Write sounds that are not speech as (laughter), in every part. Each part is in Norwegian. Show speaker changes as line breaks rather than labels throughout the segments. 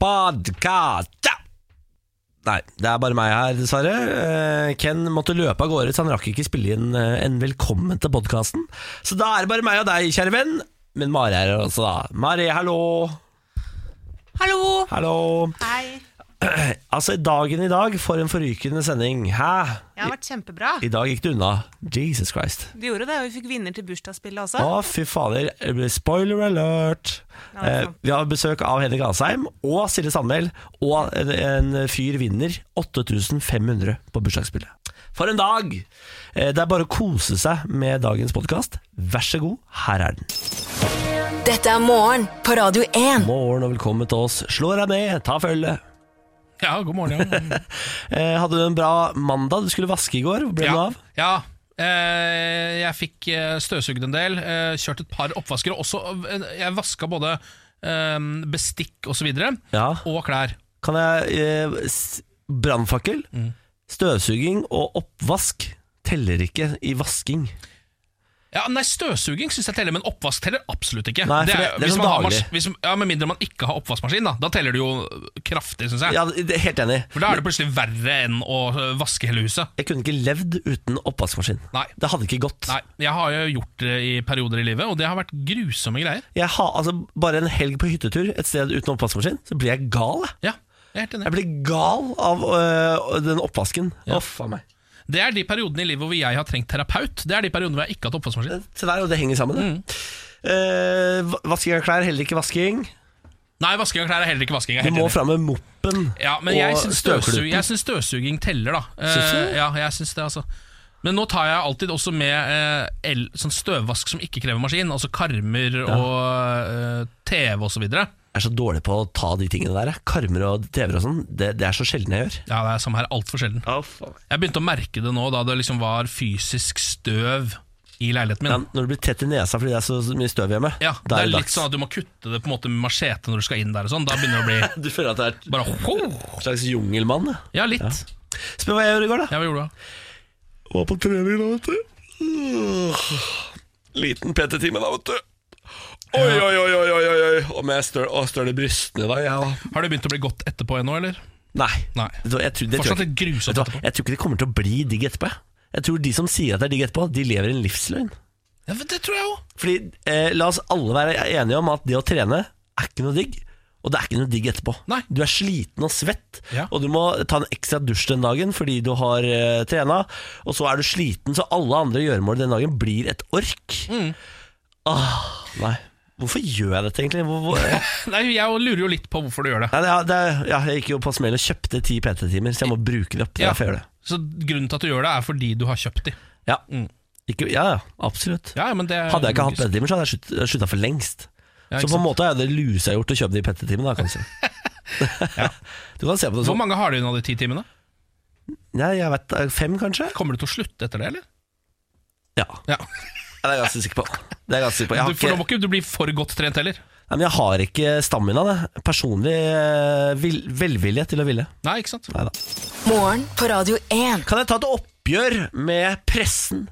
Podkast! Nei, det er bare meg her, dessverre. Eh, Ken måtte løpe av gårde, så han rakk ikke spille inn eh, en velkommen til podkasten. Så da er det bare meg og deg, kjære venn. Men Mari er her også, da. Mari, hallo.
Hallo!
Hallo.
Hei.
Altså, dagen i dag, for en forrykende sending. Hæ?
Jeg har vært kjempebra.
I dag gikk det unna. Jesus Christ.
Du gjorde det, og vi fikk vinner til bursdagsspillet også.
Å, fy fader. Spoiler alert.
Ja, det er
Eh,
sant.
vi har besøk av Henrik Asheim og Silje Sandmæl. Og en, en fyr vinner 8500 på bursdagsspillet. For en dag! Eh, det er bare å kose seg med dagens podkast. Vær så god, her er den.
Dette er morgen på Radio 1.
Morgen og velkommen til oss. Slå deg ned, ta følge.
Ja, god morgen. Ja.
Eh, hadde du en bra mandag? Du skulle vaske i går. Hvor (laughs) ble
ja.
du av?
Ja. Eh, jeg fikk eh, støvsugd en del, eh, kjørt et par oppvasker, og også eh, jeg vaska både eh, bestikk og så videre,
Ja.
og klær.
Kan jeg eh, s- Brannfakkel, støvsuging og oppvask teller ikke i vasking.
Ja, nei, Støvsuging syns jeg teller, men oppvask teller absolutt ikke.
Nei, for
er-
det- det er
hvis
sånn
man har
daglig.
mas- hvis, ja, Med mindre man ikke har oppvaskmaskin, da. Da teller det jo kraftig, syns jeg.
Ja, det- Helt enig.
For da er det plutselig verre enn å eh, vaske hele huset.
Jeg kunne ikke levd uten oppvaskmaskin.
Nei.
Det hadde ikke gått.
Nei, Jeg har jo gjort det i perioder i livet, og det har vært grusomme greier.
Jeg ha, altså, bare en helg på hyttetur et sted uten oppvaskmaskin, så blir jeg gal. Jeg,
Ja, jeg er helt enig.
jeg blir gal av øh, den oppvasken. Å, faen meg.
Det er de periodene i livet hvor jeg har trengt terapeut. Det er de periodene hvor jeg ikke har hatt oppvaskmaskin.
Se der, og det henger sammen. det.
Mm.
Eh, va- vasking av klær, heller ikke vasking.
Nei, vasking av klær er heller ikke vasking. Jeg
Du
er
må
helt enig.
fram med moppen
Ja, men jeg
og
syns støvsug,
støvkluten.
jeg syns støvsuging teller, da. Eh,
Syns du?
ja, jeg syns det, altså. Men nå tar jeg alltid også med eh, el, sånn støvvask som ikke krever maskin. Altså karmer og eh, TV osv. Ja,
Jeg er så dårlig på å ta de tingene der. jeg. Karmer og TV-er og sånn. Det, det er så sjelden jeg gjør.
det er samme her. Altfor sjelden. Jeg begynte å merke det nå, da det liksom var fysisk støv i leiligheten
Ja,
min.
når du blir tett i nesa fordi det er så mye støv hjemme,
Ja,
da
Det er
det
litt sånn at du må kutte det på en måte med machete når du skal inn der. og sånn Da begynner det å
(laughs)
bli
Du føler at det (laughs) er
bare ho!
en slags jungelmann. ja.
Ja, litt.
Spør hva jeg gjorde i går, da.
Ja, hva gjorde du? da?
Var på trening da, vet du. Liten PT-time da, vet du. Oi, oi, oi, oi, oi, oi, oi. Og med støl, og støl i brystene i dag, jeg da.
Har det begynt å bli godt etterpå ennå, eller?
Nei.
Nei.
Vet du hva, Jeg tror, det tror
Fortsatt
jeg,
litt
ikke. Vet
grusomt
du hva,
etterpå.
jeg tror ikke det kommer til å bli digg etterpå. jeg. Jeg tror de som sier at det er digg etterpå, de lever en livsløgn.
Ja, men Det tror jeg òg.
Fordi eh, la oss alle være enige om at det å trene er ikke noe digg. Og det er ikke noe digg etterpå.
Nei.
Du er sliten og svett,
Ja.
og du må ta en ekstra dusj den dagen fordi du har eh, trena. Og så er du sliten, så alle andre gjøremål den dagen blir et ork.
Mm.
Åh, nei. Hvorfor gjør jeg dette, egentlig? Hvor, hvor? Nei,
Nei, Jeg lurer jo litt på hvorfor du gjør det.
det, er- det, er- ja, jeg gikk jo på smell og kjøpte ti PT-timer, så jeg må bruke det opp. Det er
Ja.
derfor jeg gjør det.
Så Grunnen til at du gjør det, er fordi du har kjøpt de.
Ja. Ikke, ja, ja, absolutt.
Ja, ja, men det er
Hadde jeg ikke hatt
logisk.
PT-timer, så hadde jeg slutt- slutta for lengst.
Ja,
så
ikke
på en
sant?
måte er det luse jeg har gjort å kjøpe de PT-timene, da, kan
(laughs)
du si. (laughs) Du kan se på det
Hvor
sånn.
mange har du igjen av de ti timene?
Nei, jeg vet, eh, fem, kanskje?
Kommer du til å slutte etter det, eller?
Ja,
Ja.
det er jeg ganske sikker på. Det er jeg ganske sikker på. Jeg
Du,
har
for da må
ikke,
ikke du bli for godt trent heller.
nei, men jeg har ikke stamina, det. Personlig eh, vil, velvilje til å ville.
Nei, ikke sant?
Neida.
Morgen på Radio 1.
Kan jeg ta et oppgjør med
(laughs)
pressen?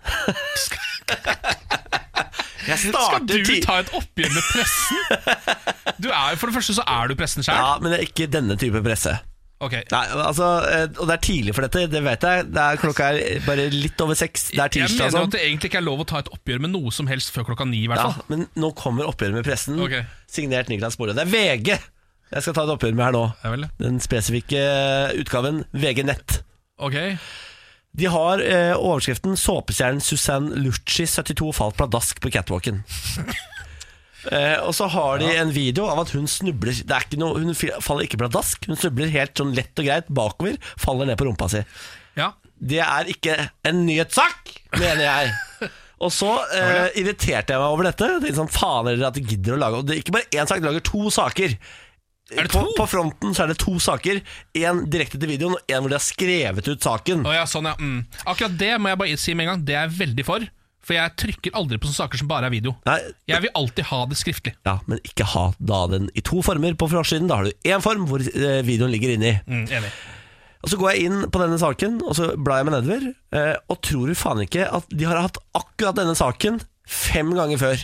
jeg
Skal
starter
du
ti-
ta et oppgjør med pressen? Du er, jo- for det første så er du pressen sjøl.
Ja, men det er ikke denne type presse. Nei, altså, eh, Og det er tidlig for dette, det vet jeg. Det er, klokka er bare litt over seks. Det er
Jeg mener
tirsdag.
jo
Sånn.
at det egentlig ikke er lov å ta et oppgjør med noe som helst før klokka ni. i hvert
Ja,
fall
men nå kommer oppgjøret med pressen.
Ok.
Signert Niklas Borre. Det er VG jeg skal ta et oppgjør med her nå.
Ja vel.
Den spesifikke eh, utgaven VG Nett.
Ok,
De har eh, overskriften 'Såpestjernen Susanne Lucci 72 falt pladask på catwalken'. (laughs) eh, og så har de en video av at hun snubler. Det er ikke noe, hun fi- faller ikke pladask. Hun snubler helt sånn lett og greit bakover, faller ned på rumpa si.
ja
Det er ikke en nyhetssak, mener
(laughs)
jeg. Og så eh, irriterte jeg meg over dette. Tenkte sånn, faen er det at de gidder å lage Og det er Ikke bare én sak, de lager to saker.
Er det
På,
to?
på fronten så er det to saker. Én direkte til videoen, og én hvor de har skrevet ut saken.
Å ja, sånn ja. Mm. Akkurat det må jeg bare si med en gang. Det er jeg veldig for. For jeg trykker aldri på sånne saker som bare er video.
Nei,
Jeg vil alltid ha det skriftlig.
ja, Men ikke ha da den i to former på forsiden. Da har du én form hvor eh, videoen ligger inni.
Mm, enig.
Og Så går jeg inn på denne saken, og så blar jeg meg nedover. eh, Og tror du faen ikke at de har hatt akkurat denne saken fem ganger før.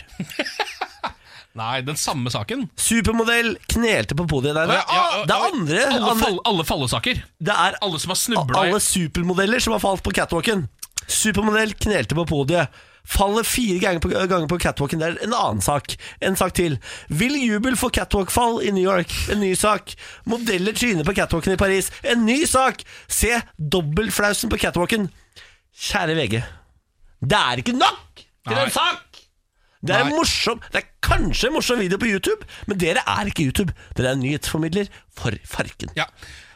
Nei, den samme saken.
Supermodell knelte på podiet der.
Ja, ja,
Ah, det er andre,
Alle,
andre
fall, alle fallesaker.
Det er
Alle som har snubla i
alle supermodeller som har falt på catwalken. Supermodell knelte på podiet. Faller fire ganger på, ganger på catwalken. Det er en annen sak. En sak til. Vill jubel for catwalkfall i New York. En ny sak. Modeller tryner på catwalken i Paris. En ny sak! Se dobbeltflausen på catwalken. Kjære VG. Det er ikke nok til
Nei.
en sak! Det er, en
Nei.
morsom, det er kanskje en morsom video på YouTube, men dere er ikke YouTube. Dere er nyhetsformidler for farken.
Ja.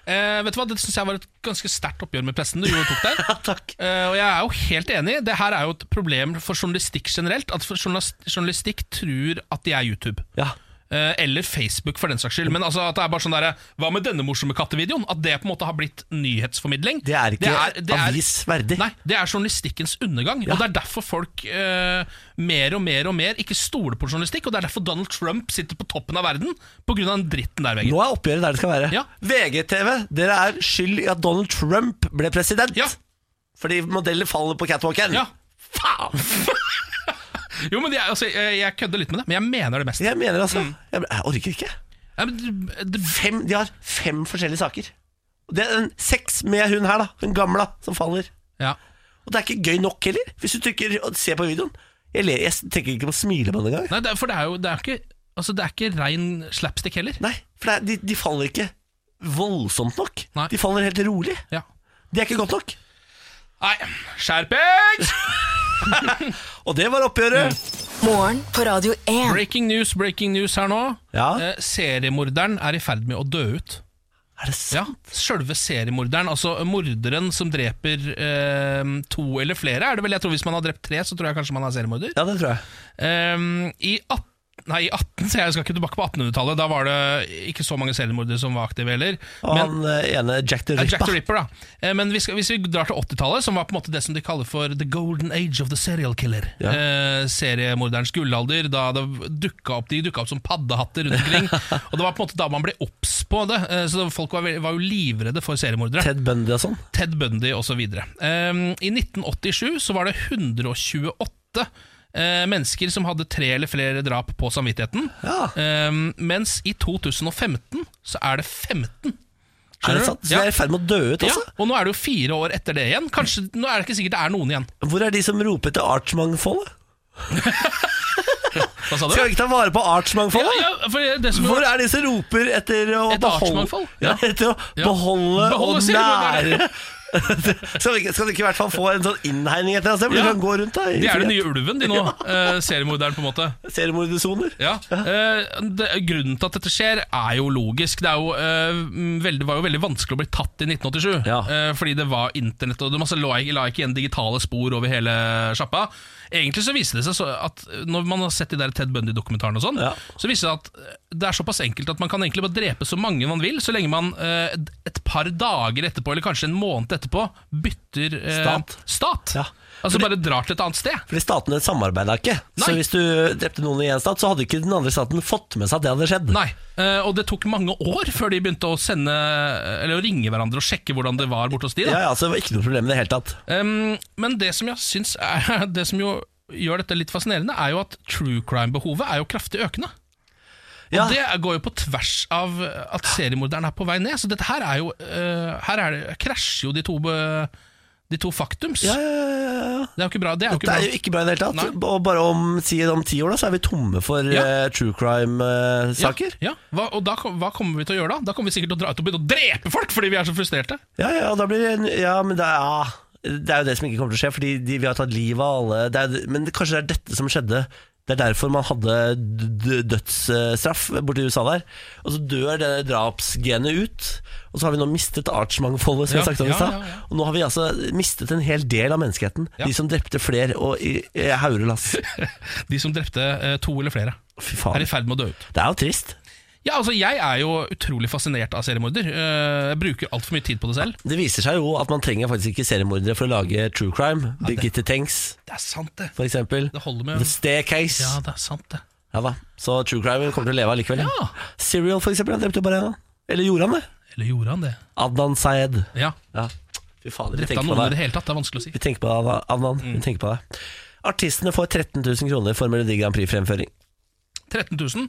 Eh, vet du hva, Det syns jeg var et ganske sterkt oppgjør med pressen du gjorde tok der.
(laughs) Ja, takk.
Eh, og jeg er jo helt enig. Det her er jo et problem for journalistikk generelt. At journalis- journalistikk tror at de er YouTube.
Ja.
Eh, eller Facebook, for den saks skyld. Men altså at det er bare sånn der, hva med denne morsomme kattevideoen? At det på en måte har blitt nyhetsformidling.
Det er ikke
det er-
avisverdig.
Nei, det er journalistikkens undergang. Og det er derfor folk eh, mer og mer og mer ikke stoler på journalistikk. Og det er derfor Donald Trump sitter på toppen av verden pga. den dritten der. Veggen.
Nå er oppgjøret der det skal være.
Ja.
VGTV, dere er skyld i at Donald Trump ble president.
Ja.
Fordi modeller faller på catwalken.
Ja.
Faen!
(laughs) Jo, men jeg, altså, jeg, jeg kødder litt med det, men jeg mener det mest.
Jeg mener altså
Mm.
jeg, jeg orker ikke.
Ja, men, det- det-
Fem, de har fem forskjellige saker. Og Det er en, seks med hun her, da. Hun gamla som faller.
ja.
Og det er ikke gøy nok heller, hvis du trykker og ser på videoen. Jeg, ler, jeg tenker ikke på smilebånd engang.
Nei, det er, for det er jo det er ikke Altså, det er ikke rein slapstick heller.
Nei, for det er, de, de faller ikke voldsomt nok.
Nei.
De faller helt rolig.
Ja.
Det er ikke godt nok.
Nei, skjerpings!
Og det var oppgjøret.
Mm.
Morgen på Radio 1.
Breaking news, breaking news her nå.
Ja.
Eh, seriemorderen er i ferd med å dø ut.
Er det sant?
Ja, Sjølve seriemorderen, altså morderen som dreper eh, to eller flere, er det vel? Jeg tror Hvis man har drept tre, så tror jeg kanskje man er seriemorder.
Ja, det tror jeg.
Ehm, I 18... Nei, i 18, så (laughs) jeg skal ikke tilbake på 1800-tallet. Da var det ikke så mange selvmordere som var aktive heller.
Og
Men,
han eh, ene Jack the
ja, Jack
Ripper.
the Ripper, da. Eh, Men vi skal, hvis vi drar til 80-tallet, som var på en måte det som de kaller for the golden age of the serial killer.
Ja.
Eh, seriemorderens gullalder, da det dukka opp, de dukka opp som paddehatter
(laughs)
rundt omkring. og det var på en måte da man ble obs på det. Eh, så folk var, ve- var jo livredde for seriemordere.
Ted Bundy og sånn.
Ted Bundy osv. Um, I 1987 så var det 128 eh, mennesker som hadde tre eller flere drap på samvittigheten.
Ja.
Um, mens i 2015 så er det 15.
Er
du?
det sant? Så de
Ja.
er i ferd med å dø ut,
Ja,
altså?
og nå er det jo fire år etter det igjen. Kanskje, nå er det ikke sikkert det er noen igjen.
Hvor er de som roper til artsmangfoldet?
Hva sa du?
Skal vi ikke ta vare på
Ja,
artsmangfoldet?
ja, for det som
Hvor er de som roper etter å
Etter
beholde
artsmangfold?
ja, Etter å
Ja.
beholde,
Beholde
og
sier man
nære (laughs) Skal vi ikke- skal du ikke i hvert fall få en sånn innhegning etter deg selv? Du
Ja.
kan gå rundt da i
de er den
frihet.
nye ulven, (laughs) de nå. eh, seriemorderen, på en måte.
seriemordersoner.
Ja. eh, det, grunnen til at dette skjer, er jo logisk. Det er jo, eh, mm, veldig, var jo veldig vanskelig å bli tatt i 1987.
Ja.
eh, fordi det var internett, og det masse la, ikke- la ikke igjen digitale spor over hele sjappa. Egentlig så viser det seg så at eh, når man har sett de der Ted Bundy-dokumentarene, og sånn
Ja.
så viser det seg at eh, det er såpass enkelt at man kan egentlig bare drepe så mange man vil, så lenge man eh, et par dager etterpå, eller kanskje en måned etterpå, bytter eh,
Stat.
stat.
Ja.
Altså bare drar til et annet sted.
Fordi statene samarbeida ikke. Så
Nei.
hvis du drepte noen i én stat, så hadde ikke den andre staten fått med seg at det hadde skjedd.
Nei, eh, og det tok mange år før de begynte å sende Eller å ringe hverandre og sjekke hvordan det var borte hos de. Da.
Ja, ja, så det var ikke noe problem i det hele tatt.
Um, men det som jeg syns er (laughs) Det som jo gjør dette litt fascinerende, er jo at true crime-behovet er jo kraftig økende. Og
Ja.
det går jo på tvers av at seriemorderen er på vei ned. Så dette her er jo eh, Her er det, krasjer jo de to, be- de to faktums.
Ja, ja, ja, ja, ja.
Det er jo ikke bra. Det er jo ikke
Det
bra.
er jo ikke bra i det hele tatt. Og bare om, si, om ti år da, så er vi tomme for
Ja.
eh, true crime-saker.
Ja, ja. Hva, og da, kom- hva kommer vi til å gjøre da? Da kommer vi sikkert til å dra ut og begynne å drepe folk fordi vi er så frustrerte. (laughs)
ja. ja, og da blir det en, Ja, men det er, ja, det er jo det som ikke kommer til å skje, fordi de, vi har tatt livet av alle. Det er, men det, kanskje det er dette som skjedde. Det er derfor man hadde d- d- dødsstraff borti USA der. Og så dør det drapsgenet ut. Og så har vi nå mistet artsmangfoldet, som
Ja,
jeg snakket om i
ja,
stad.
ja, ja.
Og nå har vi altså mistet en hel del av menneskeheten.
Ja.
De som drepte flere og i, i
(laughs)
haurelass.
De som drepte eh, to eller flere,
Fy
er
faen.
i ferd med å dø ut.
Det er jo trist.
Ja, altså Jeg er jo utrolig fascinert av seriemorder. Eh, Jeg bruker altfor mye tid på det selv.
Det viser seg jo at man trenger faktisk ikke seriemordere for å lage true crime. Birgitte Tengs,
Det er sant, det.
for eksempel.
Det holder
The
med
Staircase.
Ja,
Ja.
det er sant, det.
da. Så true crime kommer til å leve allikevel.
Ja.
Serial, for eksempel. Han drepte jo bare en. Eller gjorde han det?
Eller gjorde han det?
Adnan Sayed.
Ja.
Ja. Fy fader, vi
Drepte han
tenker på
noen Mm. i
deg.
det hele tatt? Det er vanskelig å si.
Vi tenker på deg, Adnan. Vi tenker på deg. Artistene får 13 000 kroner for Melodi Grand Prix-fremføring.
13 000,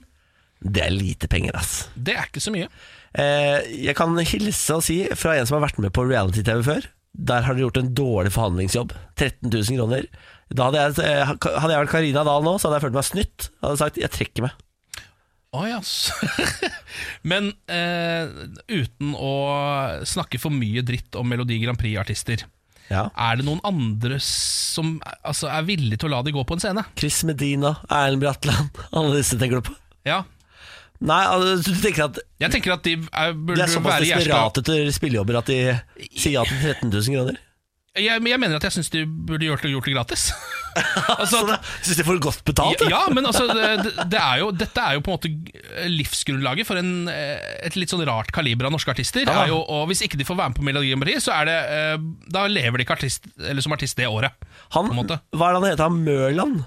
Det er lite penger, ass.
det er ikke så mye.
Eh, jeg kan hilse og si fra en som har vært med på reality-TV før. Der har dere gjort en dårlig forhandlingsjobb. 13 000 kroner. Da hadde, jeg, eh, hadde jeg vært Karina Dahl nå, så hadde jeg følt meg snytt. Jeg hadde sagt 'jeg trekker meg'.
Å ja. s- (laughs) Men eh, uten å snakke for mye dritt om Melodi Grand Prix-artister,
Ja.
er det noen andre som altså, er villige til å la de gå på en scene?
Chris Medina, Erlend Bratland, (laughs) alle disse tenker du på?
Ja.
Nei, altså, du tenker at
Jeg tenker at de er, burde
de er såpass
være gjerska
desperate etter spillejobber at de sier ja til 13 000 kroner?
jeg, men jeg mener at jeg syns de burde gjort det, gjort det
(laughs)
gratis. altså,
Så da Syns de får godt betalt?
ja,
da?
ja, men altså, det, det er jo, dette er jo på en måte livsgrunnlaget for en, eh, et litt sånn rart kaliber av norske artister.
Ja.
Er jo, og Hvis ikke de får være med på Melodi Grand Prix, så er det, eh, da lever de ikke artist, eller som artist det året.
Han,
på en måte.
hva er det han heter? Han Mørland?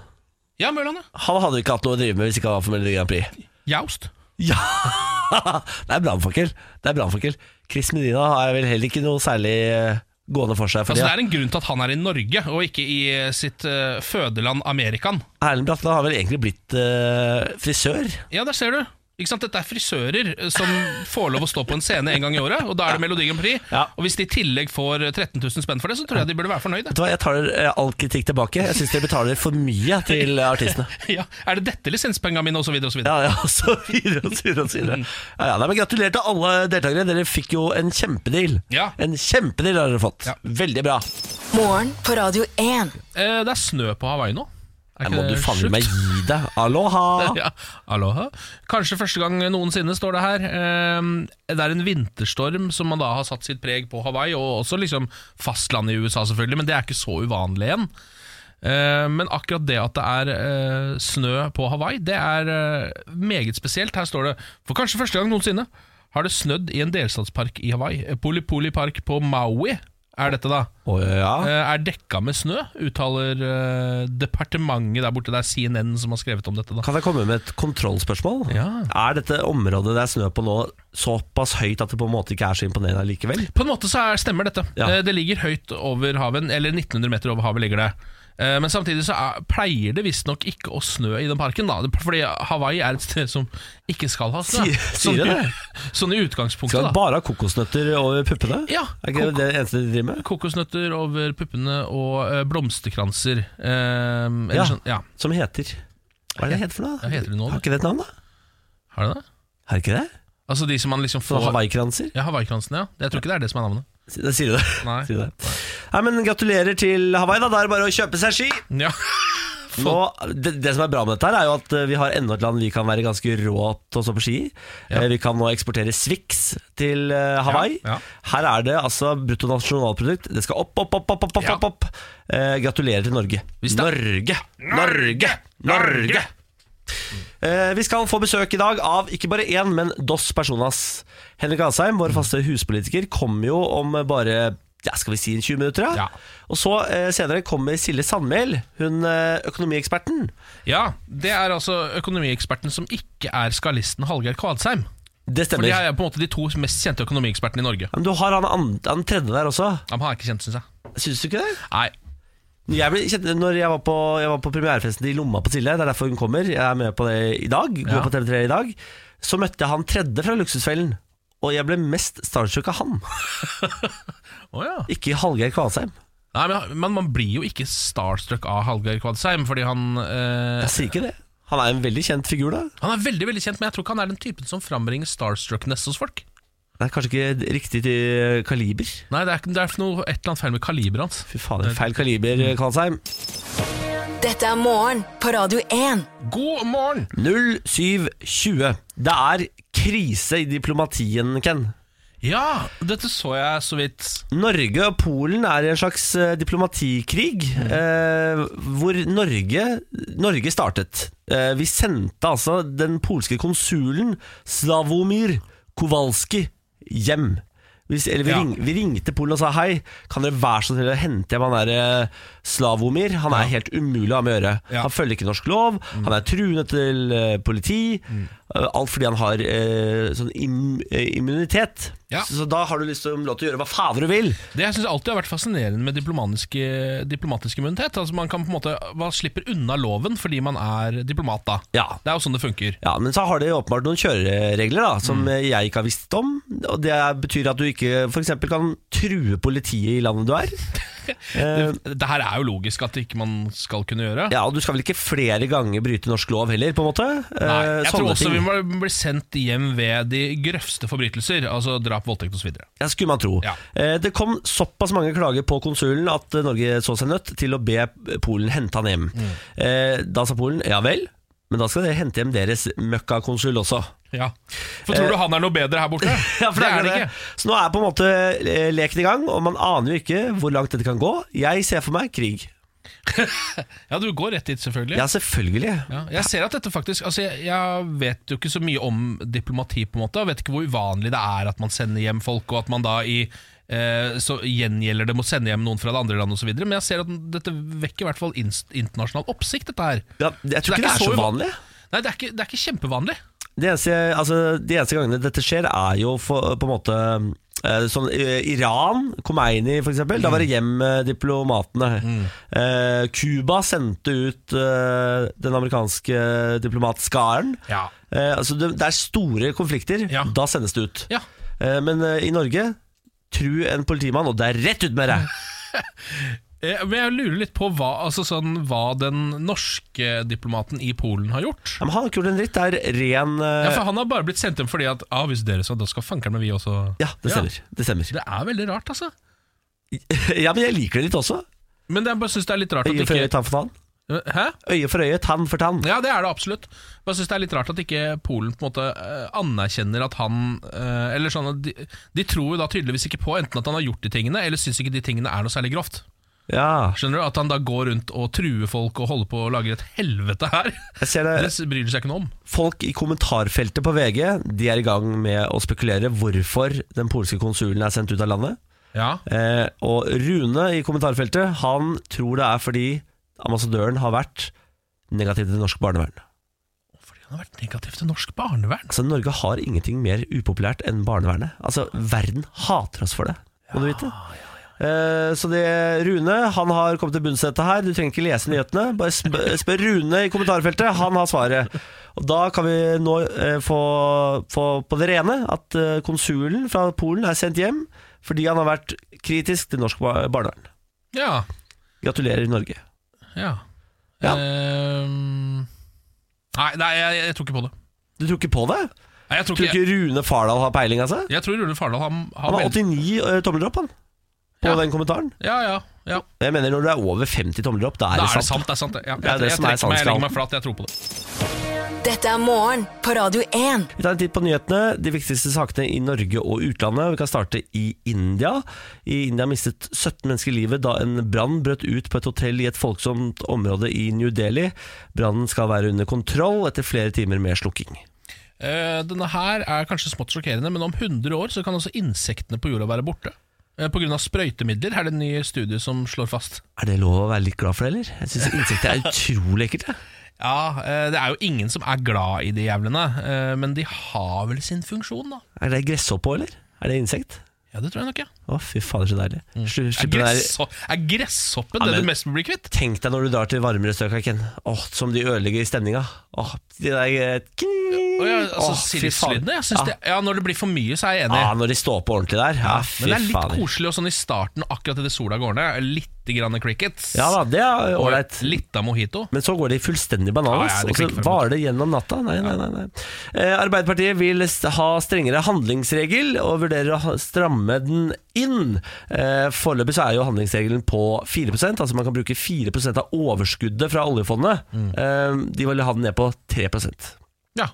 Ja, Mørland, ja.
Han hadde ikke hatt noe å drive med hvis ikke han var for Melodi Grand Prix.
Jaust.
Ja! Det er brannfakkel. Det er brannfakkel. Chris Medina har vel heller ikke noe særlig eh, gående for seg. Fordi
Altså, det er en grunn til at han er i Norge, og ikke i eh, sitt eh, fødeland Amerikan.
Erlend Bratland har vel egentlig blitt eh, frisør.
Ja, der ser du. Ikke sant? Dette er frisører eh, som får lov å stå på en scene en gang i året, og da er det Melodi Grand Prix.
Ja.
Og hvis de i tillegg får eh, 13 000 spenn for det, så tror jeg de burde være fornøyde.
Vet du hva, Jeg tar eh, all kritikk tilbake. Jeg syns dere betaler for mye
(laughs)
til artistene.
Ja, er det dette lisenspengene mine, og så videre og så videre.
Ja, ja, og så videre og så videre. Og så videre. Ja, ja, nei, men gratulerer til alle deltakere. Dere fikk jo en kjempedeal.
Ja.
En kjempedeal har dere fått.
Ja.
Veldig bra.
Morgen på Radio 1.
Eh, det er snø på Hawaii nå. Er
Nei,
ikke
må du
det
falle
Eh, sjukt?
meg gi deg. Aloha!
(laughs) Ja, aloha. Kanskje første gang noensinne, står det her. Eh, Det er en vinterstorm som man da har satt sitt preg på Hawaii, og også liksom fastlandet i USA, selvfølgelig, men det er ikke så uvanlig igjen. Eh, Men akkurat det at det er eh, snø på Hawaii, det er eh, meget spesielt. Her står det For kanskje første gang noensinne har det snødd i en delstatspark i Hawaii. Eh, Polipoli park på Maui er dette, da.
Å, ja.
Eh, Er dekka med snø, uttaler eh, departementet der borte. Det er CNN som har skrevet om dette. da
Kan jeg komme med et kontrollspørsmål?
Ja.
Er dette området det er snø på nå såpass høyt at det på en måte ikke er så imponerende likevel?
På en måte så er, stemmer dette.
Ja.
Eh, Det ligger høyt over haven, eller 1900 meter over havet ligger det. Eh, Men samtidig så er, pleier det visstnok ikke å snø i den parken, da. Fordi Hawaii er et sted som ikke skal ha snø.
Sier- sier
Sånn-
det?
(laughs) Sånn i utgangspunktet,
Skal
da.
han bare ha kokosnøtter over puppene?
Ja,
Er ikke det det eneste de driver med?
Kokosnøtter over puppene og eh, blomsterkranser. Eh, eller
Ja.
Sånn, ja.
Som heter Hva er det det heter for noe?
Ja, heter det noe, da?
Har ikke det et navn, da?
Har det det?
Har ikke det?
Altså de som man liksom
Sånne
får
hawaiikranser?
Ja, Hawaii-kransen, ja. Jeg tror ikke det er det som er navnet.
Da sier du det.
Nei.
(laughs) Sier du det. Nei, men gratulerer til Hawaii, da. Da er det bare å kjøpe seg ski.
Ja.
Nå, det, det som er bra med dette, her er jo at eh, vi har enda et land vi kan være ganske rå til å stå på ski i.
Ja.
Eh, Vi kan nå eksportere Swix til eh, Hawaii.
Ja, ja.
Her er det altså bruttonasjonalprodukt. Det skal opp, opp, opp, opp, opp, opp,
Ja.
opp, opp. Eh, gratulerer til Norge.
Hvis det-
Norge! Norge! Norge! Eh, vi skal få besøk i dag av ikke bare én, men dos personas. Henrik Asheim, vår
Mm.
faste huspolitiker, kommer jo om bare ja, skal vi si 20 minutter.
Ja.
Og så eh, senere kommer Silje Sandmæl, hun eh, økonomieksperten.
ja, det er altså økonomieksperten som ikke er skalisten Hallgeir Kvadsheim.
Det
For
stemmer.
de er på en måte de to mest kjente økonomiekspertene i Norge.
Ja, Men du har han, an- han tredje der også.
Ja, men han er ikke kjent, synes jeg.
Syns du ikke det?
Nei,
Jeg ble kjent, når jeg var, på, jeg var på premierefesten i Lomma på Silje, det er derfor hun kommer, jeg er med på det i dag, går
Ja.
på TV3 i dag, så møtte jeg han tredje fra Luksusfellen. Og jeg ble mest starstruck av han,
Å, ja.
ikke Hallgeir Kvalsheim.
Nei men, men man blir jo ikke starstruck av Hallgeir Kvadsheim, fordi han eh,
Jeg sier ikke det. Han er en veldig kjent figur, da.
Han er veldig veldig kjent, men jeg tror ikke han er den typen som frambringer starstruckness hos folk.
Det er kanskje ikke riktig til kaliber.
Nei, det er, ikke- det er noe, et eller annet feil med kaliberet hans.
Fy fader, feil kaliber, Kvalsheim.
Dette er morgen på Radio 1.
God morgen!
0720. Det er krise i diplomatien, Ken.
Ja, dette så jeg så vidt.
Norge og Polen er i en slags eh, diplomatikrig,
Mm.
eh, hvor Norge, Norge startet. Eh, vi sendte altså den polske konsulen Slavomir Kowalski hjem. Vi, s- eller vi,
Ja.
ring, vi ringte Polen og sa hei, kan dere være så snill å hente hjem han der eh, Slavomir? Han er helt umulig å ha med å gjøre.
Ja.
Han følger ikke norsk lov, han er truende til eh, politi. Eh, Alt fordi han har eh, sånn im eh, immunitet.
Ja.
Så, så da har du liksom lov til å gjøre hva fader du vil.
Det jeg synes alltid har vært fascinerende med diplomatiske- diplomatisk immunitet. Altså Man kan på en måte man slipper unna loven fordi man er diplomat, da.
Ja.
Det er jo sånn det funker.
Ja, Men så har de åpenbart noen kjøreregler da som
Mm.
eh, jeg ikke har visst om. Og Det betyr at du ikke for eksempel kan true politiet i landet du
(laughs)
er. Eh,
Det her er jo logisk at ikke man skal kunne gjøre.
ja, Og du skal vel ikke flere ganger bryte norsk lov heller, på en måte? Eh,
Nei, jeg tror
sånne
også
ting.
vi må bli sendt hjem ved de grøvste forbrytelser. Altså drap, voldtekt osv.
Ja, skulle man tro.
Ja.
Eh, Det kom såpass mange klager på konsulen at eh, Norge så seg nødt til å be Polen hente han hjem.
Mm.
Eh, Da sa Polen ja vel, men da skal dere hente hjem deres møkkakonsul også. (laughs)
Ja. For tror du han er noe bedre her borte?
Eh, Ja, for
det er han
det.
ikke.
Så nå er på en måte eh, leken i gang, og man aner jo ikke hvor langt dette kan gå. Jeg ser for meg krig.
Ja, du går rett dit, selvfølgelig.
Ja, selvfølgelig.
Ja, jeg ser at dette faktisk altså jeg, jeg vet jo ikke så mye om diplomati, på en måte. Jeg vet ikke hvor uvanlig det er at man sender hjem folk, og at man da i eh, så gjengjelder det med å sende hjem noen fra det andre landet osv. Men jeg ser at dette vekker i hvert fall inst- internasjonal oppsikt, dette her.
Ja, jeg tror
Det er
ikke det
ikke
er så
så
vanlig.
Nei, det er ikke, det er ikke kjempevanlig.
De eneste, altså, de eneste gangene dette skjer, er jo for, på en måte eh, Sånn eh, Iran, Khomeini for eksempel, da var det
Mm.
hjem eh, diplomatene. Eh, Cuba sendte ut eh, den amerikanske diplomatskaren.
Ja.
Eh, altså, det, det er store konflikter.
Ja.
Da sendes det ut.
Ja.
Eh, men eh, i Norge Tru en politimann, og det er rett ut med
Mm.
deg!
Eh, Men jeg lurer litt på hva, altså sånn, hva den norske diplomaten i Polen har gjort.
Ja, men han har ikke gjort en dritt. Det er ren eh,
Ja, for Han har bare blitt sendt hjem fordi at ah, hvis dere sa, da skal fankeren med vi også
ja, det stemmer. Det stemmer.
Det er veldig rart, altså.
Ja, men jeg liker det litt også.
Men jeg bare synes det er litt rart at
Øye for øye,
ikke Eh,
tann for tann.
Hæ?
Øye for øye, tann for tann.
Ja, det er det absolutt. Men jeg synes det er litt rart at ikke Polen på en måte eh, anerkjenner at han eh, Eller sånn at de, de tror jo da tydeligvis ikke på enten at han har gjort de tingene, eller syns ikke de tingene er noe særlig grovt.
Ja,
Skjønner du? At han da går rundt og truer folk og holder på å lage et helvete her. (laughs)
jeg ser
Det
det.
s- bryr de seg ikke noe om.
Folk i kommentarfeltet på VG De er i gang med å spekulere hvorfor den polske konsulen er sendt ut av landet.
Ja,
Eh, og Rune i kommentarfeltet Han tror det er fordi ambassadøren har vært negativ til norsk barnevern.
Fordi han har vært negativ til norsk barnevern.
Altså Norge har ingenting mer upopulært enn barnevernet. Altså Verden hater oss for det, må du vite. Eh, Så det Rune han har kommet til bunns i dette her. Du trenger ikke lese nyhetene. Bare sp- eh, spør Rune i kommentarfeltet. Han har svaret. Og Da kan vi nå eh, få, få på det rene at eh, konsulen fra Polen er sendt hjem fordi han har vært kritisk til norsk bar- barnevern.
Ja,
Gratulerer, Norge.
ja.
Ja.
Ehm, nei, nei jeg, jeg, jeg tror ikke på det.
Du tror ikke på det?
Nei, jeg, tror
Tror du
ikke, jeg,
ikke Rune Fardal har peiling, altså?
tror Rune Fardal har, har
Han har
veld-
89 tomler opp, han. På
Ja.
den kommentaren.
Ja, ja, ja.
Jeg mener Når du er over 50 tomler opp, da er
Da
det,
er det
sant.
sant. det er sant det. Ja, jeg,
Det er det
jeg,
som er
trekker meg, jeg
sannskalen.
legger meg flat, jeg tror på det.
Dette er morgen på Radio 1.
Vi tar en titt på nyhetene. De viktigste sakene i Norge og utlandet. Vi kan starte i India. I India mistet 17 mennesker livet da en brann brøt ut på et hotell i et folksomt område i New Delhi. Brannen skal være under kontroll etter flere timer med slukking.
Eh, denne her er kanskje smått sjokkerende, men om 100 år så kan også insektene på jorda være borte. Eh, Pga. sprøytemidler er det en ny studie som slår fast.
Er det lov å være litt glad for det, eller? Jeg syns insekter er utrolig ekkelt. jeg.
Ja, eh, Det er jo ingen som er glad i de jævlene, eh, men de har vel sin funksjon, da.
Er det gresshoppe òg, eller? Er det insekt?
Ja, Det tror jeg nok, ja.
Å, fy fader, så deilig. Slu-
Mm. Er,
Slipp den der
gressho er gresshoppen
Ja,
det
men-
du mest vil bli kvitt?
Tenk deg når du drar til varmere strøk, Ken. Åh, som de ødelegger stemninga. Åh, de der eh, kling.
Å, ja,
Åh,
altså,
fy faen.
Silslydene? Jeg synes det, ja, Når det blir for mye, så er jeg enig.
Ja, når de står på ordentlig der. Ja, fy
men det er litt
fader.
koselig og sånn i starten, akkurat idet sola går ned. Litt grann crickets.
Ja da, det er
og
ålreit.
litt av mojito.
Men så går de fullstendig bananas,
Ja, ja, det
og så
klikker for
varer det gjennom natta. Nei, nei, nei, nei. Eh, Arbeiderpartiet vil st- ha strengere handlingsregel, og vurderer å ha- stramme den inn. Eh, Foreløpig så er jo handlingsregelen på 4 altså man kan bruke 4 av overskuddet fra oljefondet.
Mm.
Eh, de vil ha den ned på 3
Ja,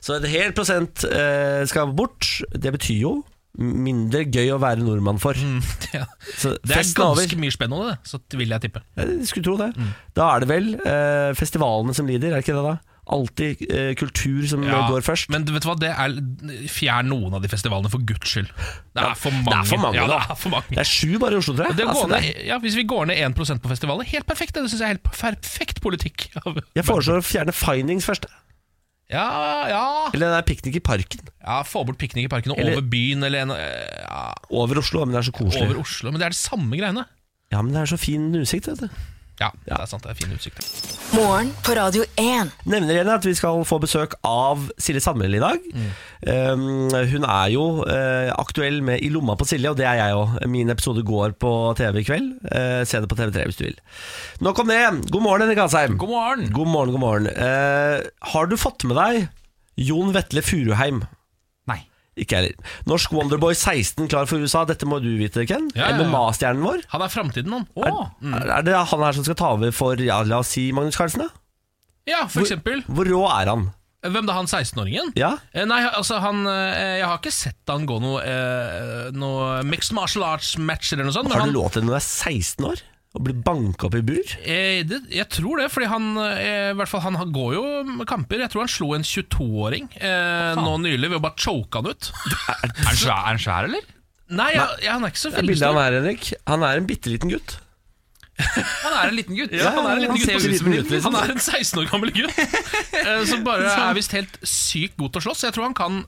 Så et helt prosent eh, skal bort. Det betyr jo mindre gøy å være nordmann for.
ja.
Så
Mm. (laughs) Det er
festen er over.
ganske mye Mm. spenn over det, så vil jeg tippe.
Jeg skulle tro det. Da er det vel eh, festivalene som lider, er det ikke det da? Alltid eh, kultur som
Ja,
går først.
Men du vet hva, det er fjern noen av de festivalene, for guds skyld. Det er for mange.
det er for mange,
ja, det
da.
er for mange.
det er sju bare i Oslo, tror jeg.
Det å gå
Altså, det er-
ned, ja, hvis vi går ned 1 på festivaler, helt perfekt. Det syns jeg er helt perfekt politikk. av-
jeg foreslår å fjerne findings først.
Ja, ja,
Eller det er piknik i parken.
ja Få bort piknik i parken og
Eller-
over byen eller en, ja,
Over Oslo, men det er så koselig.
over Oslo. Men det er de samme greiene.
Ja, men det er så fin utsikt, vet du.
Ja, det er sant. Det er fin utsikt. der.
Morgen på Radio 1.
Nevner igjen at vi skal få besøk av Silje Sandmæl i dag.
Mm.
Um, hun er jo eh, aktuell med I lomma på Silje, og det er jeg òg. Min episode går på TV i kveld. Eh, se det på TV3 hvis du vil. Nok om det. God morgen, Henrik Asheim.
God morgen!
God morgen, god morgen. Eh, har du fått med deg Jon Vetle Furuheim?
Nei.
Ikke jeg heller. Norsk Wonderboy 16 klar for USA. Dette må du vite, Ken.
Ja, ja, ja.
MMA-stjernen vår.
Han er framtiden, han. Å. mm.
Er, er det han her som skal ta over for ja, la oss si Magnus Carlsen? Da?
Ja, for eksempel.
Hvor rå er han?
Hvem da, han 16-åringen?
Ja?
Eh, Nei, altså han eh, Jeg har ikke sett han gå noe, eh, noe mixed martial arts-matcher eller noe sånt. men
Har
han-
du lov til når du er 16 år å bli banka opp i bur?
Eh, det, jeg tror det, fordi han, eh, i hvert fall, han har- går jo med kamper. Jeg tror han slo en 22-åring eh, nå nylig ved å bare choke han ut.
Er han svær, er han svær eller?
Nei, jeg, jeg, han er ikke så
Det er bildet
veldig
han er, Henrik. Han er en bitte liten gutt.
Han er en liten gutt.
Ja,
han er en
han
liten gutt.
ser
Han ser ut som
liten
en liten
ut,
gutt.
liksom.
Han er en 16 år gammel gutt eh, som bare er visst helt sykt god til å slåss. Jeg tror han kan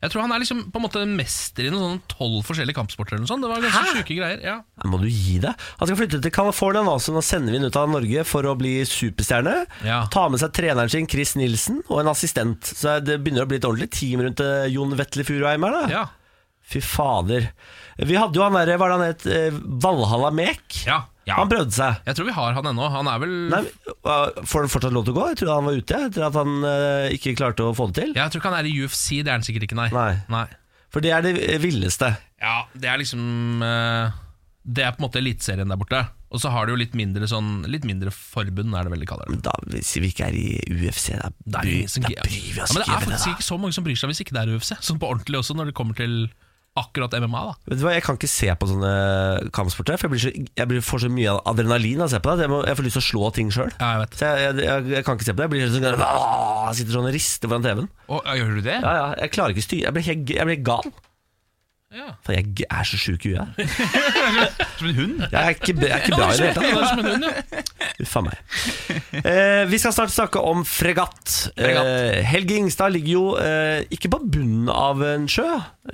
Jeg tror han er liksom på en måte mester i noen sånne tolv forskjellige kampsporter. Eller noe sånt. Det var ganske sjuke greier. Ja.
Nei, Må du gi deg? Han skal flytte til California nå, så nå sender vi han ut av Norge for å bli superstjerne.
Ja.
Ta med seg treneren sin, Chris Nilsen, og en assistent. Så det begynner å bli et ordentlig team rundt eh, Jon Vetle Furuheim her, da.
Ja.
Fy fader. Vi hadde jo han derre, hva er det han het, eh, Valhalla Mek.
Ja. ja.
Han prøvde seg.
Jeg tror vi har han ennå. Han er vel
Nei, uh, Får han fortsatt lov til å gå? Jeg trodde han var ute etter at han eh, ikke klarte å få det til.
Ja, Jeg tror ikke han er i UFC. Det er han sikkert ikke, nei.
Nei. For det er det villeste.
Ja, det er liksom eh, Det er på en måte eliteserien der borte. Og så har du jo litt mindre sånn Litt mindre forbund, er det vel de kaller det.
Da Hvis vi ikke er i UFC, da,
Det er,
bry,
ingen som
da
gi-
bryr vi
ja,
oss
men det
ikke
er
med det.
faktisk
Da.
ikke så mange som bryr seg hvis ikke det er UFC. Sånn på ordentlig også, når det kommer til akkurat MMA. da
Vet du hva, Jeg kan ikke se på sånne kampsporter, for jeg, blir så, jeg blir, får så mye adrenalin av å se på det. at Jeg, må, jeg får lyst til å slå ting sjøl.
Ja, jeg vet
Så jeg, jeg, jeg, jeg kan ikke se på det. Jeg blir helt sånn «Åh!» Jeg sitter sånn og rister foran TV-en.
Å, ja, gjør du det?
Ja, ja, jeg klarer ikke å styre. Jeg blir helt, jeg blir helt gal.
Ja.
For jeg g- er så sjuk i huet. Jeg
Som en hund?
Jeg er ikke, b- jeg er ikke bra i det hele tatt.
Ja, det er som en hund, ja.
Uff a meg. Eh, vi skal snart snakke om fregatt. Eh, Helge Ingstad ligger jo eh, ikke på bunnen av en sjø.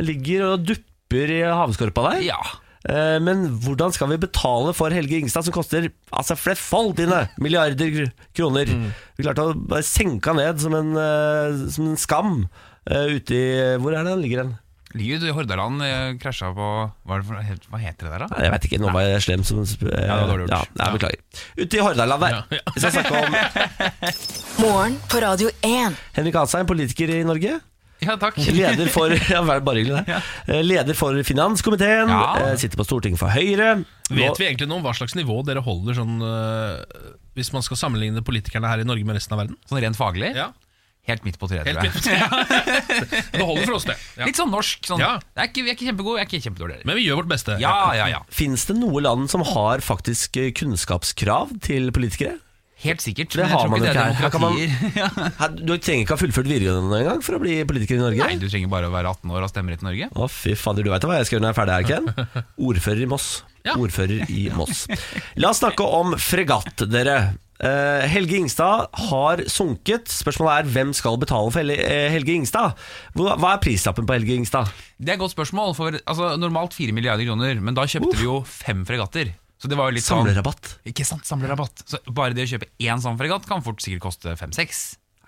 Ligger og dupper i havskorpa der.
Ja.
Eh, men hvordan skal vi betale for Helge Ingstad, som koster altså flerfoldige milliarder kr- kroner? Vi klarte å bare senke han ned som en, eh, som en skam eh, ute i Hvor er det han ligger hen?
Ligger ute i Hordaland, eh, krasja på hva, er det for, helt- hva heter det der, da?
Nei, Jeg vet ikke, nå var jeg slem som sp- eh,
Ja, det var dårlig gjort.
ja, jeg Beklager. Ute i Hordaland der.
Ja, ja.
Vi skal snakke om
Morgen på Radio 1.
Henrik Asheim, politiker i Norge.
Ja, takk.
Leder for
(laughs)
ja, vel, bare hyggelig, det. Eh, Leder for finanskomiteen.
Ja.
eh, Sitter på Stortinget for Høyre.
Vet vi egentlig noe om hva slags nivå dere holder sånn eh, hvis man skal sammenligne politikerne her i Norge med resten av verden?
Sånn rent faglig?
Ja,
Helt midt på treet,
helt
tror jeg.
midt på treet. Det holder for oss, det. Ja.
Litt sånn norsk. Sånn.
Ja.
Jeg, er ikke, jeg er ikke kjempegod, jeg er ikke kjempedårlig. heller.
Men vi gjør vårt beste.
Ja, ja, ja.
Fins det noe land som har faktisk eh, kunnskapskrav til
(laughs)
politikere?
Helt sikkert.
Det har man
jo
ikke her. Her kan man- (laughs)
ja.
Her- Du trenger ikke ha fullført videregående engang for å bli politiker i Norge.
(laughs) Nei, du trenger bare å være 18 år og ha stemmerett i Norge.
Å, fy fader, du veit hva jeg skal gjøre når jeg er ferdig her, Ken? Ordfører i Moss.
Ja.
Ordfører i Moss. La oss snakke om fregatt, dere. Eh, Helge Ingstad har sunket. Spørsmålet er hvem skal betale for Hel- eh, Helge Ingstad? Hva hva er prislappen på Helge Ingstad?
Det er et godt spørsmål, for altså, normalt 4 milliarder kroner, men da kjøpte vi jo fem fregatter. Så det var jo litt sånn
Samlerabatt.
Ikke sant, samlerabatt. Så bare det å kjøpe én sånn fregatt kan fort sikkert koste fem-seks.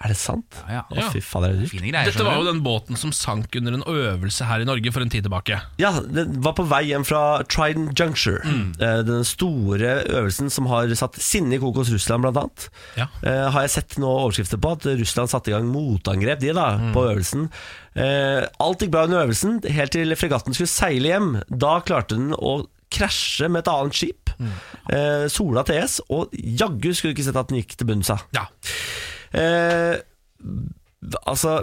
Er det sant?
Ja,
Å,
ja.
fy fader, er det dyrt?
Fine greier.
Dette var jo
skjønner du.
den båten som sank under en øvelse her i Norge for en tid tilbake.
Ja, den var på vei hjem fra Trident Juncture. Eh, Den store øvelsen som har satt sinne i kokos Russland, blant annet.
Ja.
Eh, har jeg sett nå overskrifter på at Russland satte i gang motangrep de da, på øvelsen. Eh, alt gikk bra under øvelsen, helt til fregatten skulle seile hjem. Da klarte den å krasje med et annet skip, eh, Sola TS, og jaggu skulle du ikke sett at den gikk til bunns av.
Ja.
Eh, altså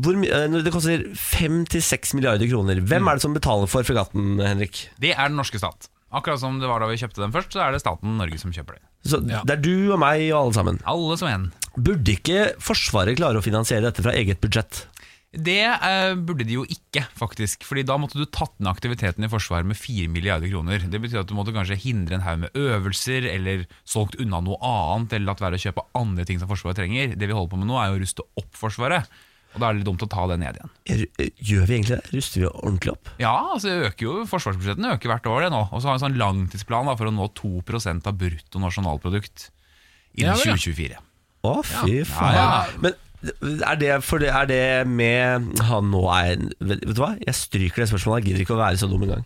hvor, my- eh, når Det koster 5-6 milliarder kroner.
Mm.
Hvem er det som betaler for fregatten, Henrik?
Det er den norske stat. Akkurat som det var da vi kjøpte den først, så er det staten Norge som kjøper det.
Så
Ja.
Det er du og meg og alle sammen.
Alle som en.
Burde ikke Forsvaret klare å finansiere dette fra eget budsjett?
Det eh, burde de jo ikke, faktisk. Fordi da måtte du tatt ned aktiviteten i Forsvaret med 4 milliarder kroner. Det betyr at du måtte kanskje hindre en haug med øvelser, eller solgt unna noe annet, eller latt være å kjøpe andre ting som Forsvaret trenger. Det vi holder på med nå, er jo å ruste opp Forsvaret. Og da er det litt dumt å ta det ned igjen.
eh, Gjør vi egentlig det? Ruster vi ordentlig opp?
Ja, altså det øker jo, forsvarsbudsjettene øker hvert år det nå. Og så har vi en sånn langtidsplan da, for å nå 2 av brutto nasjonalprodukt innen
Ja, vel, ja.
2024.
Å, fy faen.
Ja,
Men er det, for det, er det med Han nå er en- Vet vet du hva, jeg stryker det spørsmålet. Jeg gidder ikke å være så dum engang.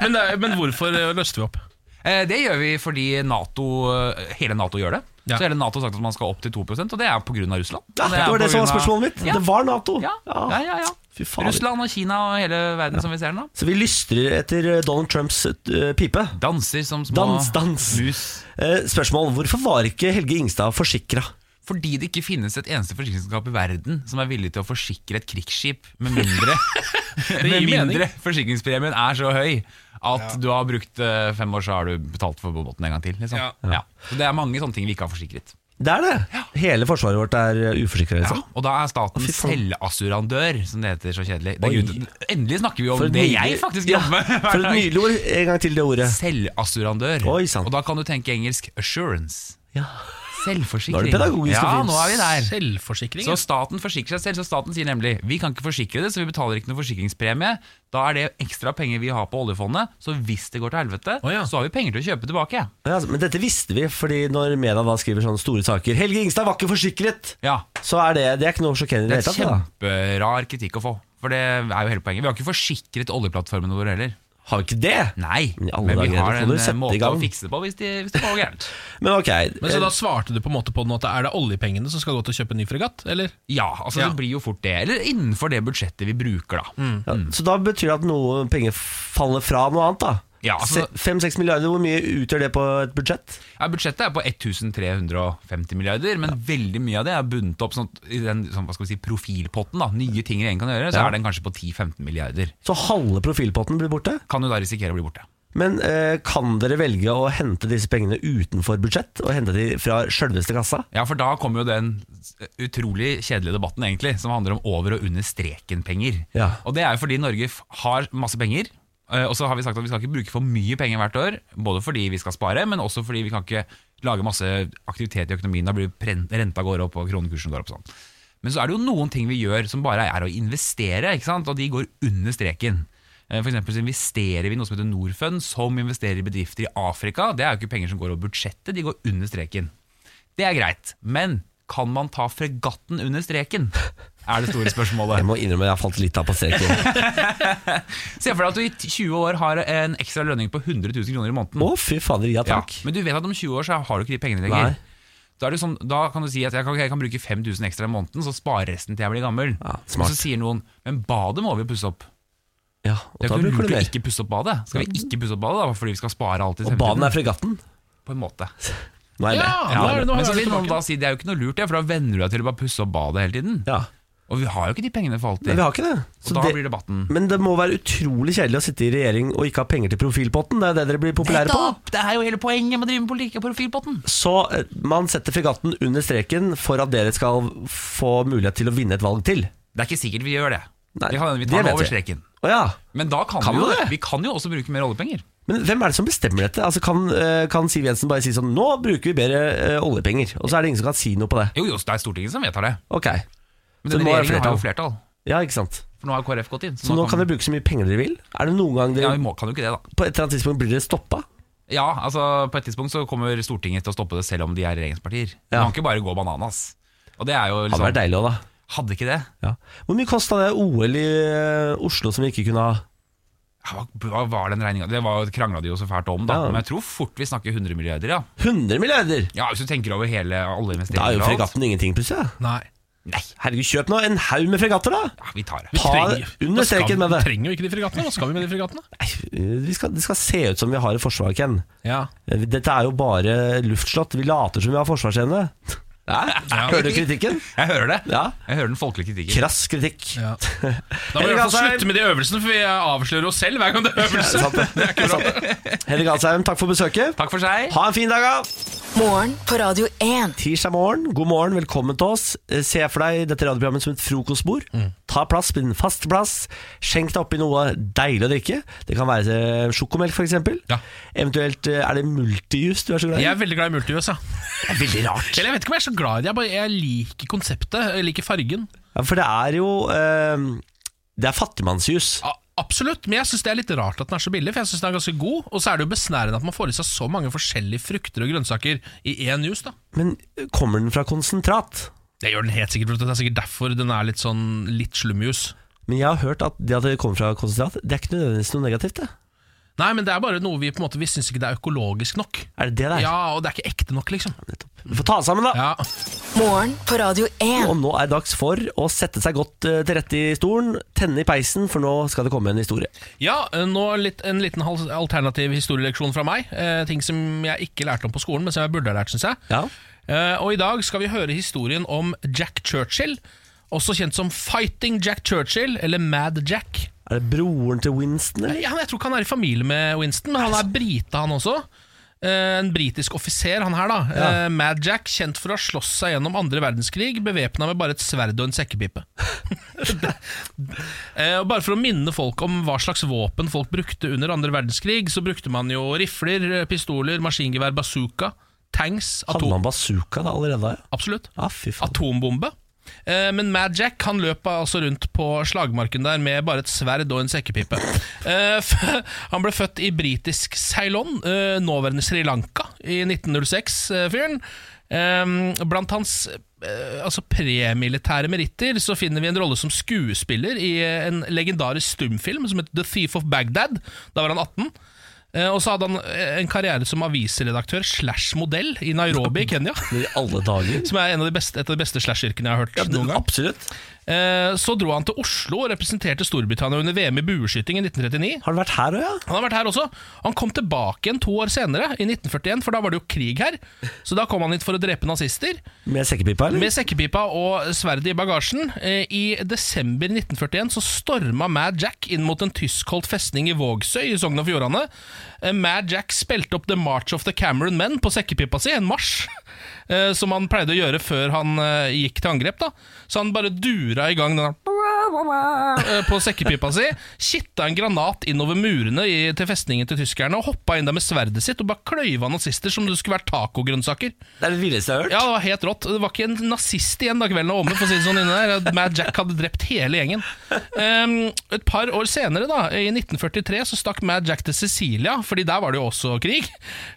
Men, det er- men hvorfor eh, løste vi opp?
Eh, Det gjør vi fordi NATO, eh, hele Nato gjør det.
Ja.
Så hele Nato har sagt at man skal opp til 2 og det er pga. Russland.
Ja,
Og
det
er
var
på
det som var
grunn av-
spørsmålet mitt.
Ja.
Det var Nato.
Ja, ja, ja, ja.
Fy faen.
Russland og Kina og hele verden som vi ser den, da.
Så vi lystrer etter eh, Donald Trumps eh, pipe.
Danser som små
Dans, dans.
mus.
Eh, spørsmål. Hvorfor var ikke Helge Ingstad forsikra?
Fordi det ikke finnes et eneste forsikringsselskap i verden som er villig til å forsikre et krigsskip, med
(laughs)
mindre, med
gir mening.
mindre forsikringspremien er så høy at du har brukt eh, fem år, så har du betalt for båten en gang til. Liksom.
Ja.
Ja. Så det er mange sånne ting vi ikke har forsikret.
Det er det. Hele forsvaret vårt er uforsikra.
Ja,
Liksom.
og da er staten
Fy faen.
selvassurandør, som det heter så kjedelig. Det er
Oi.
grunnen til- endelig snakker vi om
For et
det jeg
nydelig-
faktisk
Ja,
(laughs) jobber med.
For et nydelig ord. En gang til det ordet.
Selvassurandør.
Oi, sant.
Og da kan du tenke engelsk assurance.
Ja.
Selvforsikring.
Nå er det pedagogisk og
Ja,
fint.
nå er vi der.
Selvforsikring.
Så
ja.
staten forsikrer seg selv. Så staten sier nemlig vi kan ikke forsikre det, så vi betaler ikke noen forsikringspremie. Da er det ekstra penger vi har på oljefondet, så hvis det går til helvete,
Å, ja.
så har vi penger til å kjøpe tilbake.
Ja, altså, men dette visste vi, fordi når media da skriver sånne store saker Helge Ingstad var ikke forsikret!
Ja,
Så er det, det er ikke noe sjokkerende. i
Det
det
er
hele tatt, da.
kjemperar kritikk å få. For det er jo hele poenget. Vi har ikke forsikret oljeplattformene våre heller.
Har vi ikke det?
Nei,
I alle
men vi
dager,
har
da får
en
du
eh,
sette i
måte å
gang.
fikse det på hvis, de, hvis det går
(laughs)
gærent.
Men ok.
Men Så
eh,
da svarte du på en måte på den at er det oljepengene som skal gå til å kjøpe en ny fregatt, eller?
Ja, altså
Ja.
det blir jo fort det. Eller innenfor det budsjettet vi bruker, da.
Eh, ja, så da betyr det at noe penger faller fra noe annet, da?
Ja, altså-
5-6 milliarder, hvor mye utgjør det på et budsjett?
Ja, budsjettet er på 1350 milliarder, men veldig mye av det er bundet opp sånn, at i den sånn, hva skal vi si, profilpotten. da Nye ting en kan gjøre, så
Ja.
er den kanskje på 10-15 milliarder.
Så halve profilpotten blir borte.
Kan jo da risikere å bli borte.
Men eh, kan dere velge å hente disse pengene utenfor budsjett? Og hente de fra sjølveste kassa?
Ja, for da kommer jo den utrolig kjedelige debatten egentlig, som handler om over og under streken-penger.
Ja.
Og det er jo fordi Norge f- har masse penger, eh, og så har vi sagt at vi skal ikke bruke for mye penger hvert år, både fordi vi skal spare, men også fordi vi kan ikke lage masse aktivitet i økonomien, da blir pren- renta går opp og kronekursen går opp og sånn. Men så er det jo noen ting vi gjør som bare er å investere, ikke sant? og de går under streken. Eh, For eksempel så investerer vi i noe som heter Norfund, som investerer i bedrifter i Afrika. Det er jo ikke penger som går over budsjettet, de går under streken. Det er greit, men kan man ta fregatten under streken? Er det store
Jeg (laughs)
spørsmålet.
må innrømme jeg falt litt av på
(laughs)
streken.
Se for deg at du i 20 år har en ekstra lønning på 100 000 kroner i måneden.
Å, fy fader, ja
Ja,
takk.
men du vet at om 20 år så har du ikke de pengene lenger.
Nei.
Da, er det sånn, da kan du si at jeg kan, jeg kan bruke 5000 ekstra i måneden, så sparer resten til jeg blir gammel.
Ja,
Og
smart.
så sier noen men badet må vi pusse opp.
Ja, og
Det
da
er jo ikke
bruker
lurt
du
å
mer.
ikke pusse opp badet. Skal vi ikke pusse opp badet da, fordi vi skal spare alt i
Og banen
fremtiden?
er fregatten.
På en måte.
Nå er jeg
Ja,
med.
Ja,
nå er det- nå
men
er
så
det
vil noen
tilbake.
da si det er jo ikke noe lurt, det, for da venner du deg til å bare pusse opp badet hele tiden.
ja.
Og vi har jo ikke de pengene for alltid.
Men vi har ikke det. Så
og da
det-
blir Mm. debatten
Men det må være utrolig kjedelig å sitte i regjering og ikke ha penger til profilpotten. Det er det dere blir populære på.
Nettopp! Det er jo hele poenget med å drive med politikk og profilpotten.
Så eh, man setter fregatten under streken for at dere skal få mulighet til å vinne et valg til.
Det er ikke sikkert vi gjør det.
Nei,
det kan hende vi
det
tar
vet
den over
vi.
streken.
Å ja.
Men da kan,
Kan
vi jo
vi
det.
det?
Vi kan jo også bruke mer oljepenger.
Men hvem er det som bestemmer dette? Altså Kan, eh, kan Siv Jensen bare si sånn Nå bruker vi bedre eh, oljepenger. Og så er det ingen som kan si noe på det.
Jo, jo, så det er Stortinget som vedtar det.
Ok.
Men
Så nå
denne
er det
regjeringen har jo flertall.
Ja, ikke sant.
For nå har KrF gått inn.
Så nå kan dere bruke så mye penger dere vil. Er det noen gang
Ja,
dere
vi må, kan jo ikke det, da.
på et eller annet tidspunkt blir dere stoppa?
Ja, altså På et tidspunkt så kommer Stortinget til å stoppe det, selv om de er regjeringspartier. Det
Ja.
kan ikke bare gå bananas. Og det er jo
Hadde vært
liksom
deilig òg, da.
Hadde ikke det?
Ja. Hvor mye kosta det OL i eh, Oslo som vi ikke kunne ha?
Ja, Hva hva var den regninga? Det var- krangla de jo så fælt om, da.
Ja.
Men jeg tror fort vi snakker 100 milliarder, ja.
100 milliarder!
Ja, Hvis du tenker over hele
Da
alle
er
investeringer
jo
og alt.
fregatten ingenting, plutselig. da.
Nei.
Nei,
Herregud, kjøp nå en haug med fregatter, da!
ja, vi tar det.
Vi
Ta
trenger-
under
Da skal-
streken med det.
Vi trenger jo ikke de fregattene. Hva skal vi med de fregattene?
Nei, vi skal, det skal se ut som vi har et forsvar, Ken. Eh,
Ja.
Dette er jo bare luftslott. Vi later som vi har forsvarsevne.
Ja.
Hører du kritikken?
Jeg hører det.
Ja.
Jeg hører den folkelige kritikken.
Krass kritikk.
Ja. Da må vi i hvert fall slutte med de øvelsene, for vi avslører oss selv hver gang det er øvelse.
Sant det. Sant det. Henrik Asheim, takk for besøket.
Takk for seg.
Ha en fin dag, da!
Morgen på Radio 1.
Tirsdag morgen, god morgen, velkommen til oss. Eh, Se for deg dette radioprogrammet som et frokostbord.
Mm.
Ta plass, bli en fast plass. Skjenk deg oppi noe deilig å drikke. Det kan være eh, sjokomelk, f.eks.
Ja.
Eventuelt eh, er det multijus du er så glad i.
Jeg er veldig glad i multijus. Ja.
Det er veldig rart.
Eller jeg vet ikke om jeg er så glad i det, jeg, bare, jeg liker konseptet. Jeg liker fargen.
Ja, for det er jo eh, Det er fattigmannsjus.
A absolutt, men jeg syns det er litt rart at den er så billig, for jeg syns den er ganske god. Og så er det jo besnærende at man får i seg så mange forskjellige frukter og grønnsaker i én juice. da
Men eh, kommer den fra konsentrat?
Det gjør den helt sikkert, for det er sikkert derfor den er litt sånn litt slumjus.
Men jeg har hørt at det at det kommer fra konsentrat, det er ikke nødvendigvis noe negativt. det
Nei, men det er bare noe vi på en måte Vi syns ikke det er økologisk nok.
Er det det det er?
Ja, og det er ikke ekte nok, liksom.
Nettopp. Vi får ta oss sammen, da.
Ja,
Morgen på Radio 1.
Og nå er det dags for å sette seg godt eh, til rette i stolen, tenne i peisen, for nå skal det komme en historie.
ja eh, nå litt, en liten hal- alternativ historieleksjon fra meg. Eh, ting som jeg ikke lærte om på skolen, men som jeg burde ha lært, syns jeg.
Ja.
Eh, og i dag skal vi høre historien om Jack Churchill, også kjent som Fighting Jack Churchill, eller Mad Jack.
Er det broren til Winston, eller?
Ja, men jeg tror ikke han er i familie med Winston, men han er brite, han også. Eh, En britisk offiser, han her, da. Eh, Mad Jack, kjent for å ha slåss seg gjennom andre verdenskrig, bevæpna med bare et sverd og
(laughs)
en sekkepipe. Eh, og bare for å minne folk om hva slags våpen folk brukte under andre verdenskrig, så brukte man jo rifler, pistoler, maskingevær, bazooka, tanks,
Hadde
atom...
man bazooka da allerede? da, Ja,
Absolutt
ah, fy faen.
atombombe. Eh, Men Mad Jack han løp altså rundt på slagmarken der med bare et sverd og en sekkepipe. Eh, f- Han ble født i britisk Ceylon, eh, nåværende Sri Lanka, i 1906-fyren. eh, Ehm, Blant hans eh, altså premilitære meritter så finner vi en rolle som skuespiller i eh, en legendarisk stumfilm som het The Thief of Bagdad. Da var han 18. Eh, Og så hadde han eh, en karriere som avisredaktør slash modell i Nairobi i Kenya.
Men I alle dager.
Som er en av de beste, et av de beste slash-yrkene jeg har hørt
Ja, det,
noen gang.
absolutt.
Eh, så dro han til Oslo og representerte Storbritannia under VM i bueskyting i 1939.
Har den vært her òg, ja?
Han har vært her også. Han kom tilbake igjen to år senere, i 1941, for da var det jo krig her. Så da kom han hit for å drepe nazister.
Med sekkepipa, eller?
Med sekkepipa og sverdet i bagasjen. Eh, I desember 1941 så storma Mad Jack inn mot en tyskholdt festning i Vågsøy i Sogn og Fjordane. Eh, Mad Jack spilte opp The March of the Cameron Men på sekkepipa si, en marsj. eh, Som han pleide å gjøre før han eh, gikk til angrep. da Så han bare dura i gang den der eh, på sekkepipa si, kitta en granat innover murene i, til festningen til tyskerne og hoppa inn der med sverdet sitt og bare kløyva nazister som om det skulle vært tacogrønnsaker.
Det er det villeste jeg har hørt.
Ja, det var helt rått. Det var ikke en nazist igjen da kvelden var omme. For å si det sånn inne der Mad Jack hadde drept hele gjengen. Ehm, et par år senere, da i 1943, så stakk Mad Jack til Sicilia, Fordi der var det jo også krig.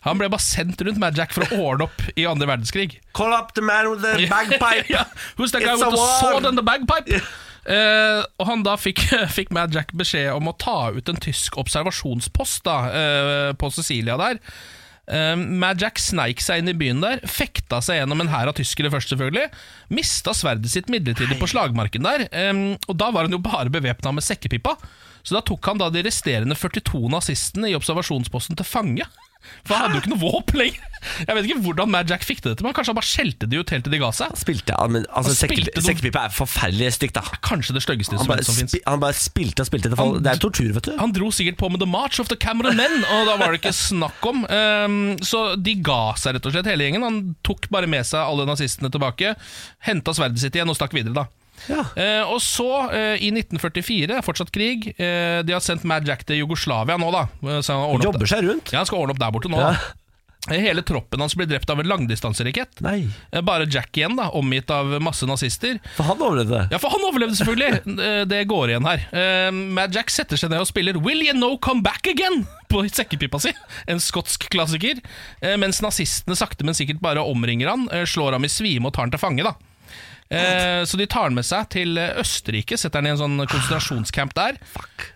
Han ble bare sendt rundt Mad Jack for å ordne opp i andre verdenskrig.
Call up the man with the bagpipe.
(laughs) ja, who's that guy
It's a
with the
war.
sword and the bagpipe? Eh, og han da fikk, (laughs) fikk Mad Jack beskjed om å ta ut en tysk observasjonspost da, eh, på Sicilia der. Eh, Mad Jack sneik seg inn i byen der, fekta seg gjennom en hær av tyskere først, selvfølgelig. Mista sverdet sitt midlertidig på slagmarken der, eh, og da var han jo bare bevæpna med sekkepipa. Så da tok han da de resterende 42 nazistene i observasjonsposten til fange. For han hadde jo ikke noe våpen lenger. Jeg vet ikke hvordan Mad Jack fikk det til, men kanskje han bare skjelte de ut helt til de ga seg.
Spilte, ja, men, altså,
Han spilte
sekkepi-
noe-
sekkepipa er forferdelig stygt, da.
Kanskje det styggeste
Han bare,
instrumentet som fins.
spi, han bare spilte og spilte. til fall- Det er tortur, vet du.
Han dro sikkert på med The March of the Cameron Men, og da var det ikke snakk om. Ehm, så de ga seg rett og slett, hele gjengen. Han tok bare med seg alle nazistene tilbake, henta sverdet sitt igjen og stakk videre, da.
Ja.
Eh, og så, eh, i 1944, fortsatt krig, eh, de har sendt Mad Jack til Jugoslavia nå, da. Eh, Så han, ordner opp,
Jobber seg rundt.
ja, han skal ordne opp der borte nå.
Ja.
Da. Eh, Hele troppen hans blir drept av en langdistanserakett.
Nei,
Eh, Bare Jack igjen, da, omgitt av masse nazister.
for han overlevde det.
Ja, for han overlevde selvfølgelig. Eh, Det går igjen her. Eh, Mad Jack setter seg ned og spiller Will You Know Come Back Again på sekkepipa si. En skotsk klassiker. Eh, Mens nazistene sakte, men sikkert bare omringer han, eh, slår ham i svime og tar han til fange. da Eh, så de tar han med seg til eh, Østerrike, setter han i en sånn konsentrasjonscamp der.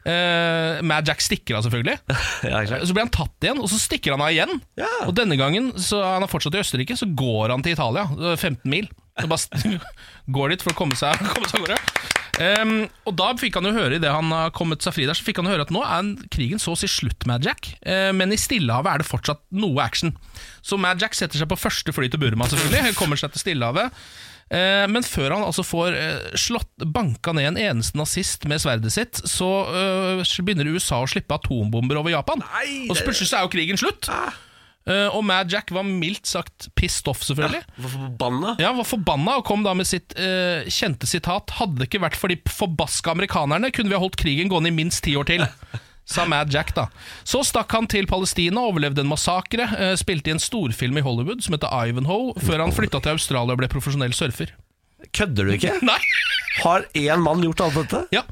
Eh, Mad Jack stikker av, selvfølgelig.
Ja, klart.
Så blir han tatt igjen, og så stikker han av igjen.
Ja.
Og denne gangen, så han er fortsatt i Østerrike, så går han til Italia, eh, 15 mil. Så bare st- (laughs) går dit for å komme seg (laughs) komme seg av gårde. Ehm, og da fikk han jo høre, idet han har kommet seg fri der, så fikk han jo høre at nå er en- krigen så å si slutt, Mad Jack. Eh, men i Stillehavet er det fortsatt noe action. Så Mad Jack setter seg på første fly til Burma, selvfølgelig. Kommer seg til Stillehavet. Eh, Men før han altså får eh, slått, banka ned en eneste nazist med sverdet sitt, så eh, begynner USA å slippe atombomber over Japan. og så plutselig så er jo krigen slutt. Eh, og Mad Jack var mildt sagt pissed off, selvfølgelig.
Hvorfor forbanna?
Ja, var forbanna og kom da med sitt eh, kjente sitat Hadde det ikke vært for de forbaska amerikanerne, kunne vi ha holdt krigen gående i minst ti år til. Sa Mad Jack, da. Så stakk han til Palestina, overlevde en massakre, eh, spilte i en storfilm i Hollywood som heter Ivanhoe, før han flytta til Australia og ble profesjonell surfer. (laughs)
Kødder du ikke?
Nei!
Har én mann gjort alt dette?
Ja.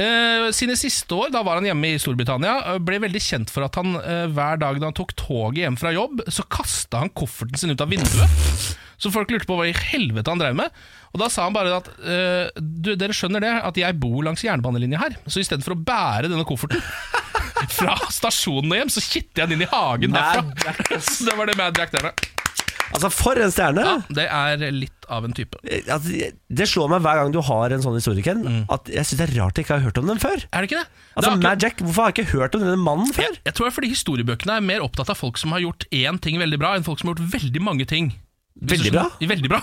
Eh, sine siste år, da var han hjemme i Storbritannia, eh, ble veldig kjent for at han eh, hver dag da han tok toget hjem fra jobb, så kasta han kofferten sin ut av vinduet. Så folk lurte på hva i helvete han drev med. Og da sa han bare at eh, du, dere skjønner det, at jeg bor langs jernbanelinja her, så istedenfor å bære denne kofferten (laughs) fra stasjonen og hjem, så kitter jeg den inn i hagen
Mad
derfra. Så (laughs) det var det Mad Jack der med.
Altså, for en stjerne!
Ja, det er litt av en type.
Eh, Altså, det slår meg hver gang du har en sånn historie, Ken, at jeg syns det er rart jeg ikke har hørt om den før.
Er Mm. det ikke det? det
Altså,
er akkurat-
Mad Jack, Hvorfor har jeg ikke hørt om denne mannen før?
Jeg tror det er fordi historiebøkene er mer opptatt av folk som har gjort én ting veldig bra, enn folk som har gjort veldig mange ting. Hvis
Veldig
du
bra?
skjønner- Veldig bra.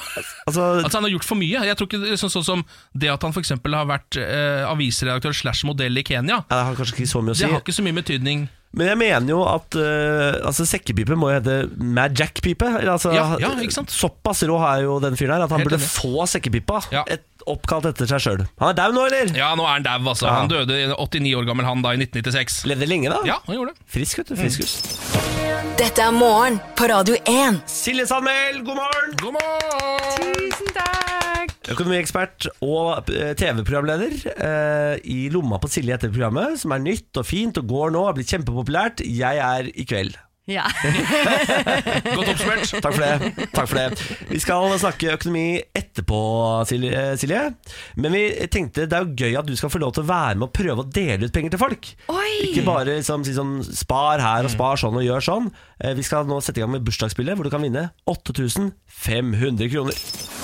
Altså,
Altså Han har gjort for mye. Jeg tror ikke det- sånn, sånn som Det at han for eksempel har vært eh, avisredaktør slash modell i Kenya,
jeg har kanskje ikke så mye å
det
si.
har ikke så mye betydning.
Men jeg mener jo at eh, altså, sekkepipe må jo hete Mad Jack-pipe. Eller, Altså,
Ja, ja, ikke sant?
Såpass rå er jo den fyren her at han
Helt
burde
enig.
få sekkepipa
Ja.
et, oppkalt etter seg sjøl. Han er daud nå, eller?
Ja, nå er han dau, altså. Han døde 89 år gammel han da i 1996.
Levde lenge, da?
Ja, Mm. han gjorde det.
Frisk, vet du. Frisk ut.
Dette er morgen på Radio 1.
Silje Sandmæl, god morgen!
God morgen!
Tusen takk!
Økonomiekspert og eh, TV-programleder eh, i lomma på Silje etter programmet, som er nytt og fint og går nå, har blitt kjempepopulært. Jeg er i kveld.
Ja.
Godt oppsummert.
Takk for det. takk for det Vi skal snakke økonomi etterpå, Silje. eh, Silje. Men vi tenkte det er jo gøy at du skal få lov til å være med og prøve å dele ut penger til folk. Ikke bare liksom, si sånn spar her og spar sånn og gjør sånn. Eh, Vi skal nå sette i gang med bursdagsspillet, hvor du kan vinne 8500 kroner.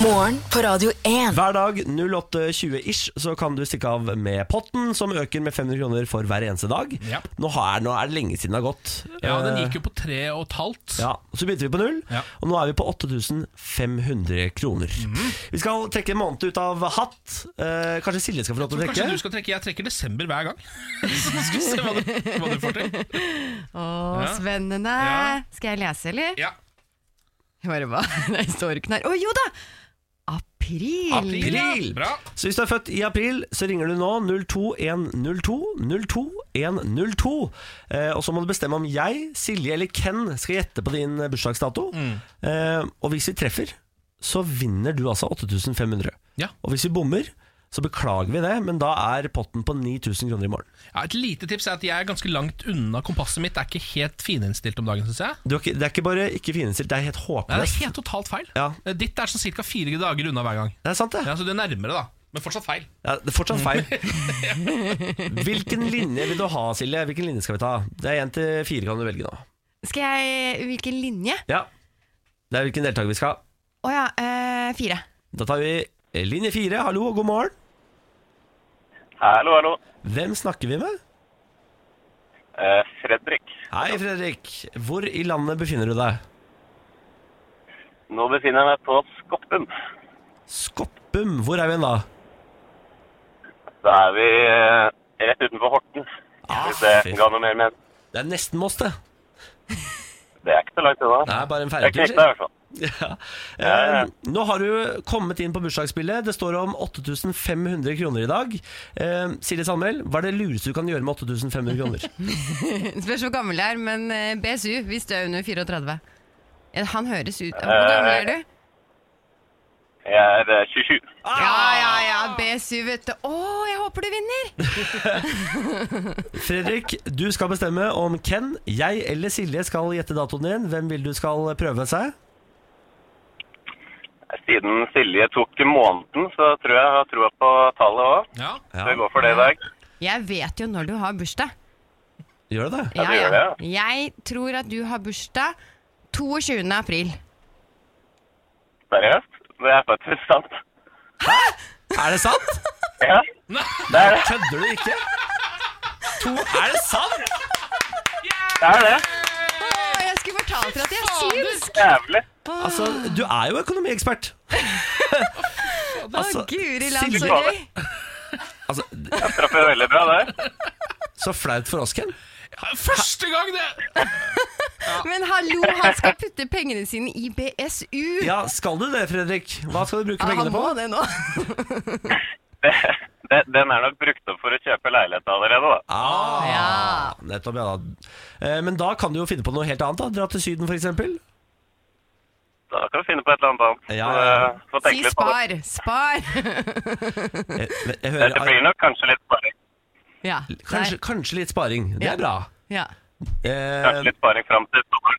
Morgen på Radio 1.
Hver dag 08.20-ish så kan du stikke av med potten, som øker med 500 kroner for hver eneste dag.
Ja.
Nå, er, nå er det lenge siden det har gått.
Ja, den
Eh,
gikk jo på tre og et halvt.
ja, og Så begynte vi på null,
Ja.
og nå er vi på 8500 kroner.
Mhm.
Vi skal trekke en måned ut av hatt. Eh, kanskje Silje skal få lov til å trekke?
Kanskje du skal trekke? Jeg trekker desember hver gang. (laughs) Skal vi se hva du, hva du får til.
Å,
Ja.
spennende.
Ja.
Skal jeg lese, eller?
Ja.
Jeg bare hva? (laughs) Nei, står ikke den her. Å jo da! April.
April.
Bra.
Så hvis du er født i april, så ringer du nå 02102 02102. Eh, og så må du bestemme om jeg, Silje eller Ken skal gjette på din eh, bursdagsdato.
Mm.
Eh, og hvis vi treffer, så vinner du altså 8500.
Ja.
Og hvis vi bommer, så beklager vi det, men da er potten på 9000 kroner i morgen.
Ja, et lite tips er at jeg er ganske langt unna kompasset mitt. Det er ikke helt fininnstilt om dagen, syns jeg.
Du har ikke, det er ikke bare ikke fininnstilt, det er helt
Nei, det er
håpløst.
helt totalt feil.
Ja.
Eh, Ditt er sånn ca. fire dager unna hver gang.
Det er sant, det.
Ja, så du er nærmere, da. Men fortsatt feil.
Ja, det er fortsatt
(laughs)
feil. Hvilken linje vil du ha, Silje? Hvilken linje skal vi ta? Det er én til fire kan du velge nå.
Skal jeg Hvilken linje?
Ja. Det er hvilken deltaker vi skal ha.
Å ja, eh, fire. (laughs)
Da tar vi linje fire. Hallo og god morgen.
Hallo, hallo.
Hvem snakker vi med?
Eh, Fredrik.
Hei, Fredrik. Hvor i landet befinner du deg?
Nå befinner jeg meg på Skoppen.
Skoppum. Hvor er vi hen da?
Da er vi eh, rett utenfor Horten.
Ah,
Hvis det
fy-
ga noe mer med.
det er nesten Moss, det.
Det er ikke så langt unna.
Det er bare en
Jeg
ferjetur.
knekte i hvert fall.
Ja.
ja.
Eh, nå har du kommet inn på bursdagsspillet. Det står om 8500 kroner i dag. Eh, Silje Sandmæl, hva er det lureste du kan gjøre med 8500 kroner?
(laughs)
Spørs hvor gammel jeg er, men eh, BSU hvis du er under 34. Eh, Han høres ut Hvor gammel
Eh.
er du?
Jeg er eh, 27.
Ja, ja, ja, BSU, vet du. Å, jeg håper du vinner!
Fredrik, du skal bestemme om Ken, jeg eller Silje skal gjette datoen din. Hvem vil du skal prøve seg?
Siden Silje tok måneden, så tror jeg jeg har troa på tallet òg.
Ja.
Så vi går for det i dag.
Jeg vet jo når du har bursdag.
Gjør du det?
Ja, du gjør det,
Jeg tror at du har bursdag 22. april.
Seriøst? Det er faktisk sant.
Er det sant?
Ja. Det er det.
Kødder du ikke? To, er det sant?
det er det.
Å, jeg skulle fortalt dere at jeg er synsk!
Jævlig.
Altså, du er jo økonomiekspert. Altså,
Å, guri land, så
Silje,
gøy!
altså,
Jeg traff jo veldig bra der.
så flaut for oss, Ken.
Første gang, det!
Men hallo, han skal putte pengene sine i BSU!
Ja, skal du det, Fredrik? Hva skal du bruke
Ja,
pengene
han
på?
må det nå.
(laughs) Den, den er nok brukt opp for å kjøpe leilighet allerede, da.
Ah,
Ja.
Nettopp, ja da. Eh, Men da kan du jo finne på noe helt annet. da Dra til Syden, f.eks.
Da kan vi finne på et eller annet annet.
Ja, ja.
Så, eh, Få
Si
tenke litt på det.
spar! Spar! (laughs)
Jeg, Eh, jeg
Det blir
hører ah,
nok kanskje litt sparing,
Ja.
kanskje,
Der.
kanskje litt sparing. Det
Ja.
er bra.
ja.
Eh,
kanskje litt sparing fram til sommeren.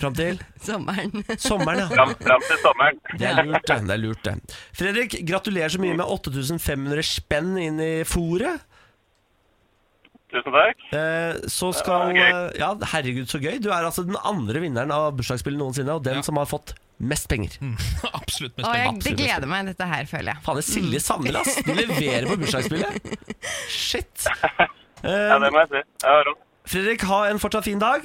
Fram til
Sommeren.
sommeren, ja.
Fram, fram til sommeren.
Det er lurt, det. det er lurt det Fredrik, gratulerer så mye med 8500 spenn inn i fòret.
Tusen takk.
Eh, så skal
Det
eh,
var
Ja, herregud, så gøy. Du er altså den andre vinneren av bursdagsspillet noensinne, og den som har fått mest penger.
Mm.
(laughs) Absolutt mest
Å, jeg,
spennende.
det gleder meg, dette her, føler jeg.
Faen, det Silje
Mm.
savner, ass. Du leverer på bursdagsspillet. Shit.
(laughs)
Eh,
Ja, det må jeg si. Ja, rått.
Fredrik, ha en fortsatt fin dag.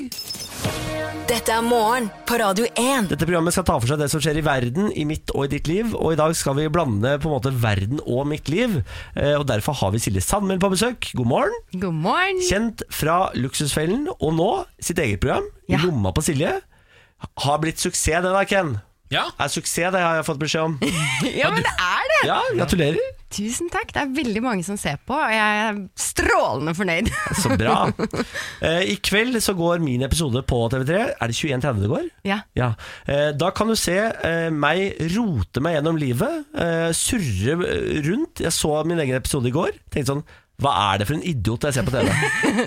Dette er morgen på Radio 1.
Dette programmet skal ta for seg det som skjer i verden, i mitt og i ditt liv. Og i dag skal vi blande på en måte verden og mitt liv. Eh, Og derfor har vi Silje Sandmæl på besøk. God morgen.
God morgen!
Kjent fra Luksusfellen, og nå sitt eget program,
Ja.
Lomma på Silje. Har blitt suksess, det da, Ken.
Ja,
Er suksess, det har jeg fått beskjed om.
Ja, men det er det!
Ja, gratulerer.
Tusen takk. Det er veldig mange som ser på, og jeg er strålende fornøyd. (laughs)
Så bra. Eh, I kveld så går min episode på TV3. Er det 21.30 det går?
Ja.
Ja. Eh, Da kan du se eh, meg rote meg gjennom livet, eh, surre eh, rundt. Jeg så min egen episode i går. Tenkte sånn Hva er det for en idiot jeg ser på TV?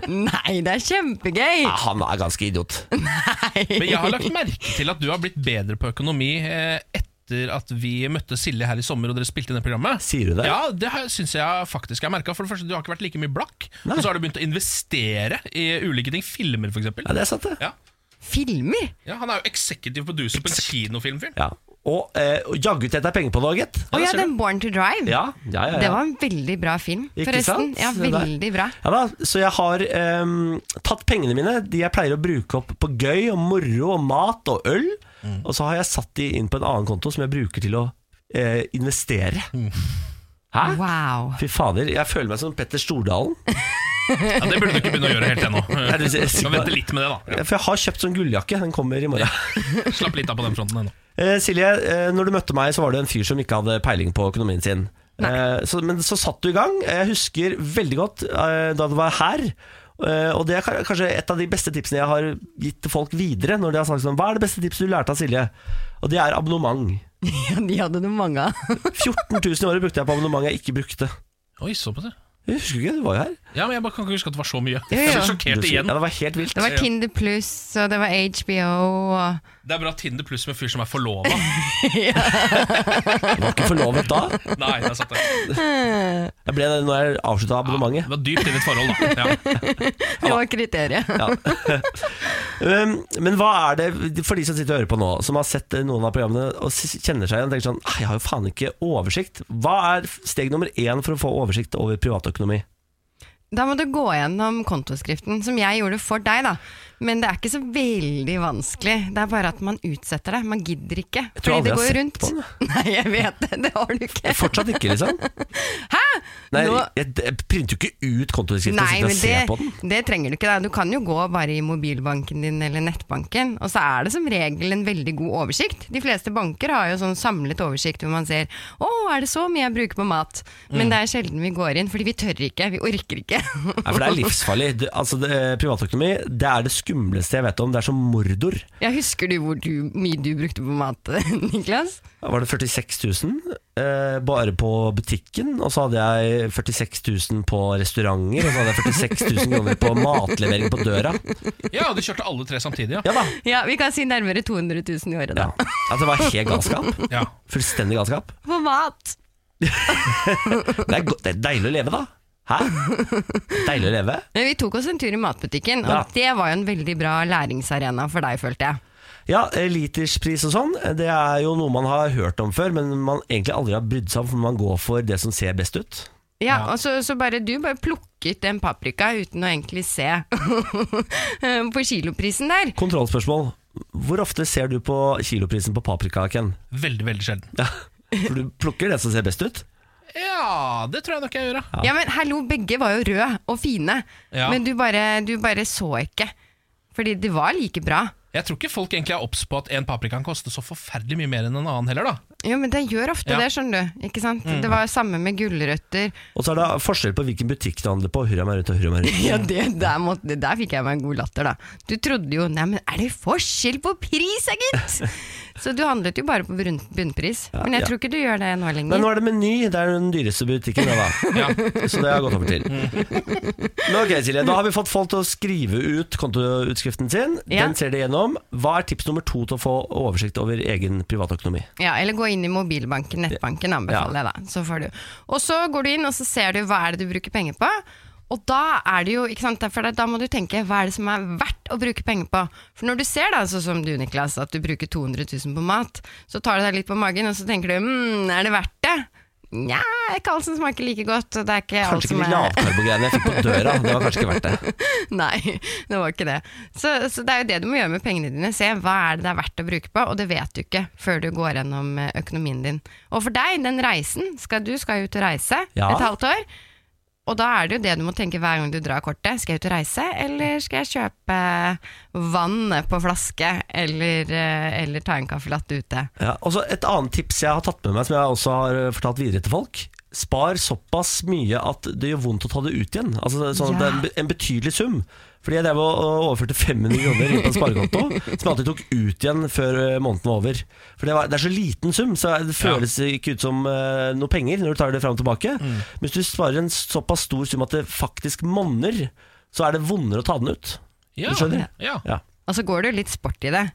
Nei, det er kjempegøy!
Ja, han er ganske idiot.
Men jeg har lagt merke til at du har blitt bedre på økonomi eh, etter at vi møtte Silje her i sommer og dere spilte inn det programmet.
Sier du det?
Ja, det har- syns jeg faktisk jeg har merka. For det første, du har ikke vært like mye blakk.
Nei.
Og så har du begynt å investere i ulike ting. Filmer, f.eks.
Ja, det er sant, det.
Ja.
(laughs) Filmer!
Ja, han er jo executive producer på en kinofilmfilm.
Ja. Og eh, og jaggu tjente jeg penger på det òg, gitt.
Å ja,
ser du.
den Born to Drive.
Ja, ja, ja, ja.
Det var en veldig bra film,
Ikke
forresten.
sant?
Ja,
Det der.
veldig bra.
Ja da, så jeg har ehm, tatt pengene mine, de jeg pleier å bruke opp på gøy og moro og mat og øl, og så har jeg satt de inn på en annen konto som jeg bruker til å eh, investere. Hæ?
Wow.
Fy fader, jeg føler meg som Petter Stordalen.
Ja, det burde du ikke begynne å gjøre helt ennå.
det er
Du kan
sikkert-
vente litt med det, da.
For jeg har kjøpt sånn gulljakke, den kommer i morgen.
Ja. Slapp litt av på den fronten ennå.
Eh, Silje, eh, når du møtte meg, så var du en fyr som ikke hadde peiling på økonomien sin. Eh, så, men så satt du i gang. Jeg husker veldig godt eh, da du var her. Eh, og det er ka- kanskje et av de beste tipsene jeg har gitt til folk videre. Når de har sagt sånn, Hva er det beste tipset du lærte av Silje? Og det er abonnement.
Ja, de hadde noen mange av.
14 000 i året brukte jeg på abonnement jeg ikke brukte.
Oi, såpass, ja.
Jeg husker ikke, du var jo her.
Ja, men jeg bare kan ikke huske at det var så mye.
Ja, ja.
Jeg
Du
blir sjokkert
husker-
igjen.
Ja, det var helt vilt.
Det var Tinder Pluss, og det var HBO og
Det er bra Tinder pluss med fyr som er forlova.
Jeg var ikke forlovet da.
Nei, der satt det.
Jeg ble det når jeg avslutta abonnementet.
Det var dypt i ditt forhold, da. Ja.
Det var kriteriet.
Um, men hva er det for de som sitter og hører på nå, som har sett eh, noen av programmene og s- kjenner seg igjen og tenker sånn «Ah, Jeg har jo faen ikke oversikt. Hva er f- steg nummer én for å få oversikt over privatøkonomi?
(laughs) Da må du gå gjennom kontoskriften, som jeg gjorde for deg, da. Men det er ikke så veldig vanskelig. Det er bare at man utsetter det. Man gidder ikke.
Jeg tror
Fordi
aldri jeg har
det går jo
sett
rundt.
på den,
(laughs) Nei, jeg vet det. Det har du ikke.
Fortsatt ikke, liksom.
(laughs) Hæ?
Nei,
Nå-
jeg, jeg printer jo ikke ut kontodiskriften og
Nei,
sitter
men
og ser på den.
det, det trenger du ikke. Da. Du kan jo gå bare i mobilbanken din eller nettbanken, og så er det som regel en veldig god oversikt. De fleste banker har jo sånn samlet oversikt hvor man ser å, er det så mye jeg bruker på mat? Men
Mm.
det er sjelden vi går inn, fordi vi tør ikke, vi orker ikke. (laughs)
Nei, for det er livsfarlig. Det, altså, det, privatøkonomi det er det skumleste jeg vet om. Det er som mordor.
Jeg husker du hvor du, mye du brukte på mat, (laughs) Niklas?
Var det 46 000 eh, bare på butikken, og så hadde jeg 46 000 på restauranter, og så hadde jeg 46 000 kroner på matlevering på døra.
ja, du kjørte alle tre samtidig, ja.
Ja da.
Ja, vi kan si nærmere 200 000 i året,
Ja.
da.
At det var helt galskap.
ja.
Fullstendig galskap.
På mat!
Det er, go- det er deilig å leve, da. Hæ? Deilig å leve?
Men vi tok oss en tur i matbutikken, og
Ja.
det var jo en veldig bra læringsarena for deg, følte jeg.
Ja, eh, literspris og sånn, det er jo noe man har hørt om før, men man egentlig aldri har brydd seg om, for man går for det som ser best ut.
Ja, og så, så bare du bare plukket den paprika uten å egentlig se (laughs) på kiloprisen der.
Kontrollspørsmål. Hvor ofte ser du på kiloprisen på paprika, Ken?
Veldig, veldig sjelden.
Ja, for du plukker det som ser best ut?
Ja, det tror jeg nok jeg gjør, ja.
Ja, men hallo, begge var jo røde og fine,
Ja.
men du bare, du bare så ikke. Fordi de var like bra.
Jeg tror ikke folk egentlig er obs på at en paprika kan koste så forferdelig mye mer enn en annen heller, da.
Jo, men det gjør ofte
Ja.
det, skjønner du. Ikke sant? Det var jo samme med gulrøtter.
Og så er det forskjell på hvilken butikk du handler på. Hurra meg rundt og hurra meg rundt.
(clears throat) (laughs) Ja, det, der, måtte, der fikk jeg meg en god latter, da. Du trodde jo Nei, men er det forskjell på pris, da, (laughs) gitt?! Så du handlet jo bare på brun- bunnpris. Men jeg
ja.
tror ikke du gjør det nå
Men
lenger.
nå er det Meny. Det er den dyreste butikken. det Da. Så det har jeg gått over til. Men ok, Silje, Da har vi fått folk til å skrive ut kontoutskriften sin.
Ja.
Den ser de gjennom. Hva er tips nummer to til å få oversikt over egen privatøkonomi?
Ja, eller gå inn i mobilbanken, nettbanken anbefaler jeg da. Så får du. Og så går du inn og så ser du hva er det du bruker penger på. Og da er det jo, ikke sant, for da må du tenke hva er det som er verdt å bruke penger på. For når du ser da, sånn som du Niklas, at du bruker 200 000 på mat, så tar du deg litt på magen og så tenker du, mm, er det verdt det? Nja, ikke alt som smaker like godt, og det er ikke alt
Kanskje
som
ikke de
er...
lavkarbogreiene jeg fikk på døra. Det var kanskje ikke verdt det.
(laughs) Nei, det var ikke det. Så, så det er jo det du må gjøre med pengene dine. Se hva er det det er verdt å bruke på, og det vet du ikke før du går gjennom eh, økonomien din. Og for deg, den reisen skal Du skal jo ut og reise
Ja.
et halvt år. Og da er det jo det du må tenke hver gang du drar kortet. Skal jeg ut og reise, eller skal jeg kjøpe vann på flaske, eller, eh, eller ta en caffè latte ute?
Ja, og så Et annet tips jeg har tatt med meg, som jeg også har eh, fortalt videre til folk. Spar såpass mye at det gjør vondt å ta det ut igjen. Altså sånn at det er en be- En betydelig sum. Fordi jeg drev og og overførte 500 kroner inn på en sparekonto, som jeg alltid tok ut igjen før eh, måneden var over. For det, var, det er så liten sum, så det føles ikke ut som eh, noe penger når du tar det fram og tilbake. Men hvis du sparer en såpass stor sum at det faktisk monner, så er det vondere å ta den ut.
Ja,
Du skjønner?
Ja.
Ja.
Og så går det jo litt sport i det.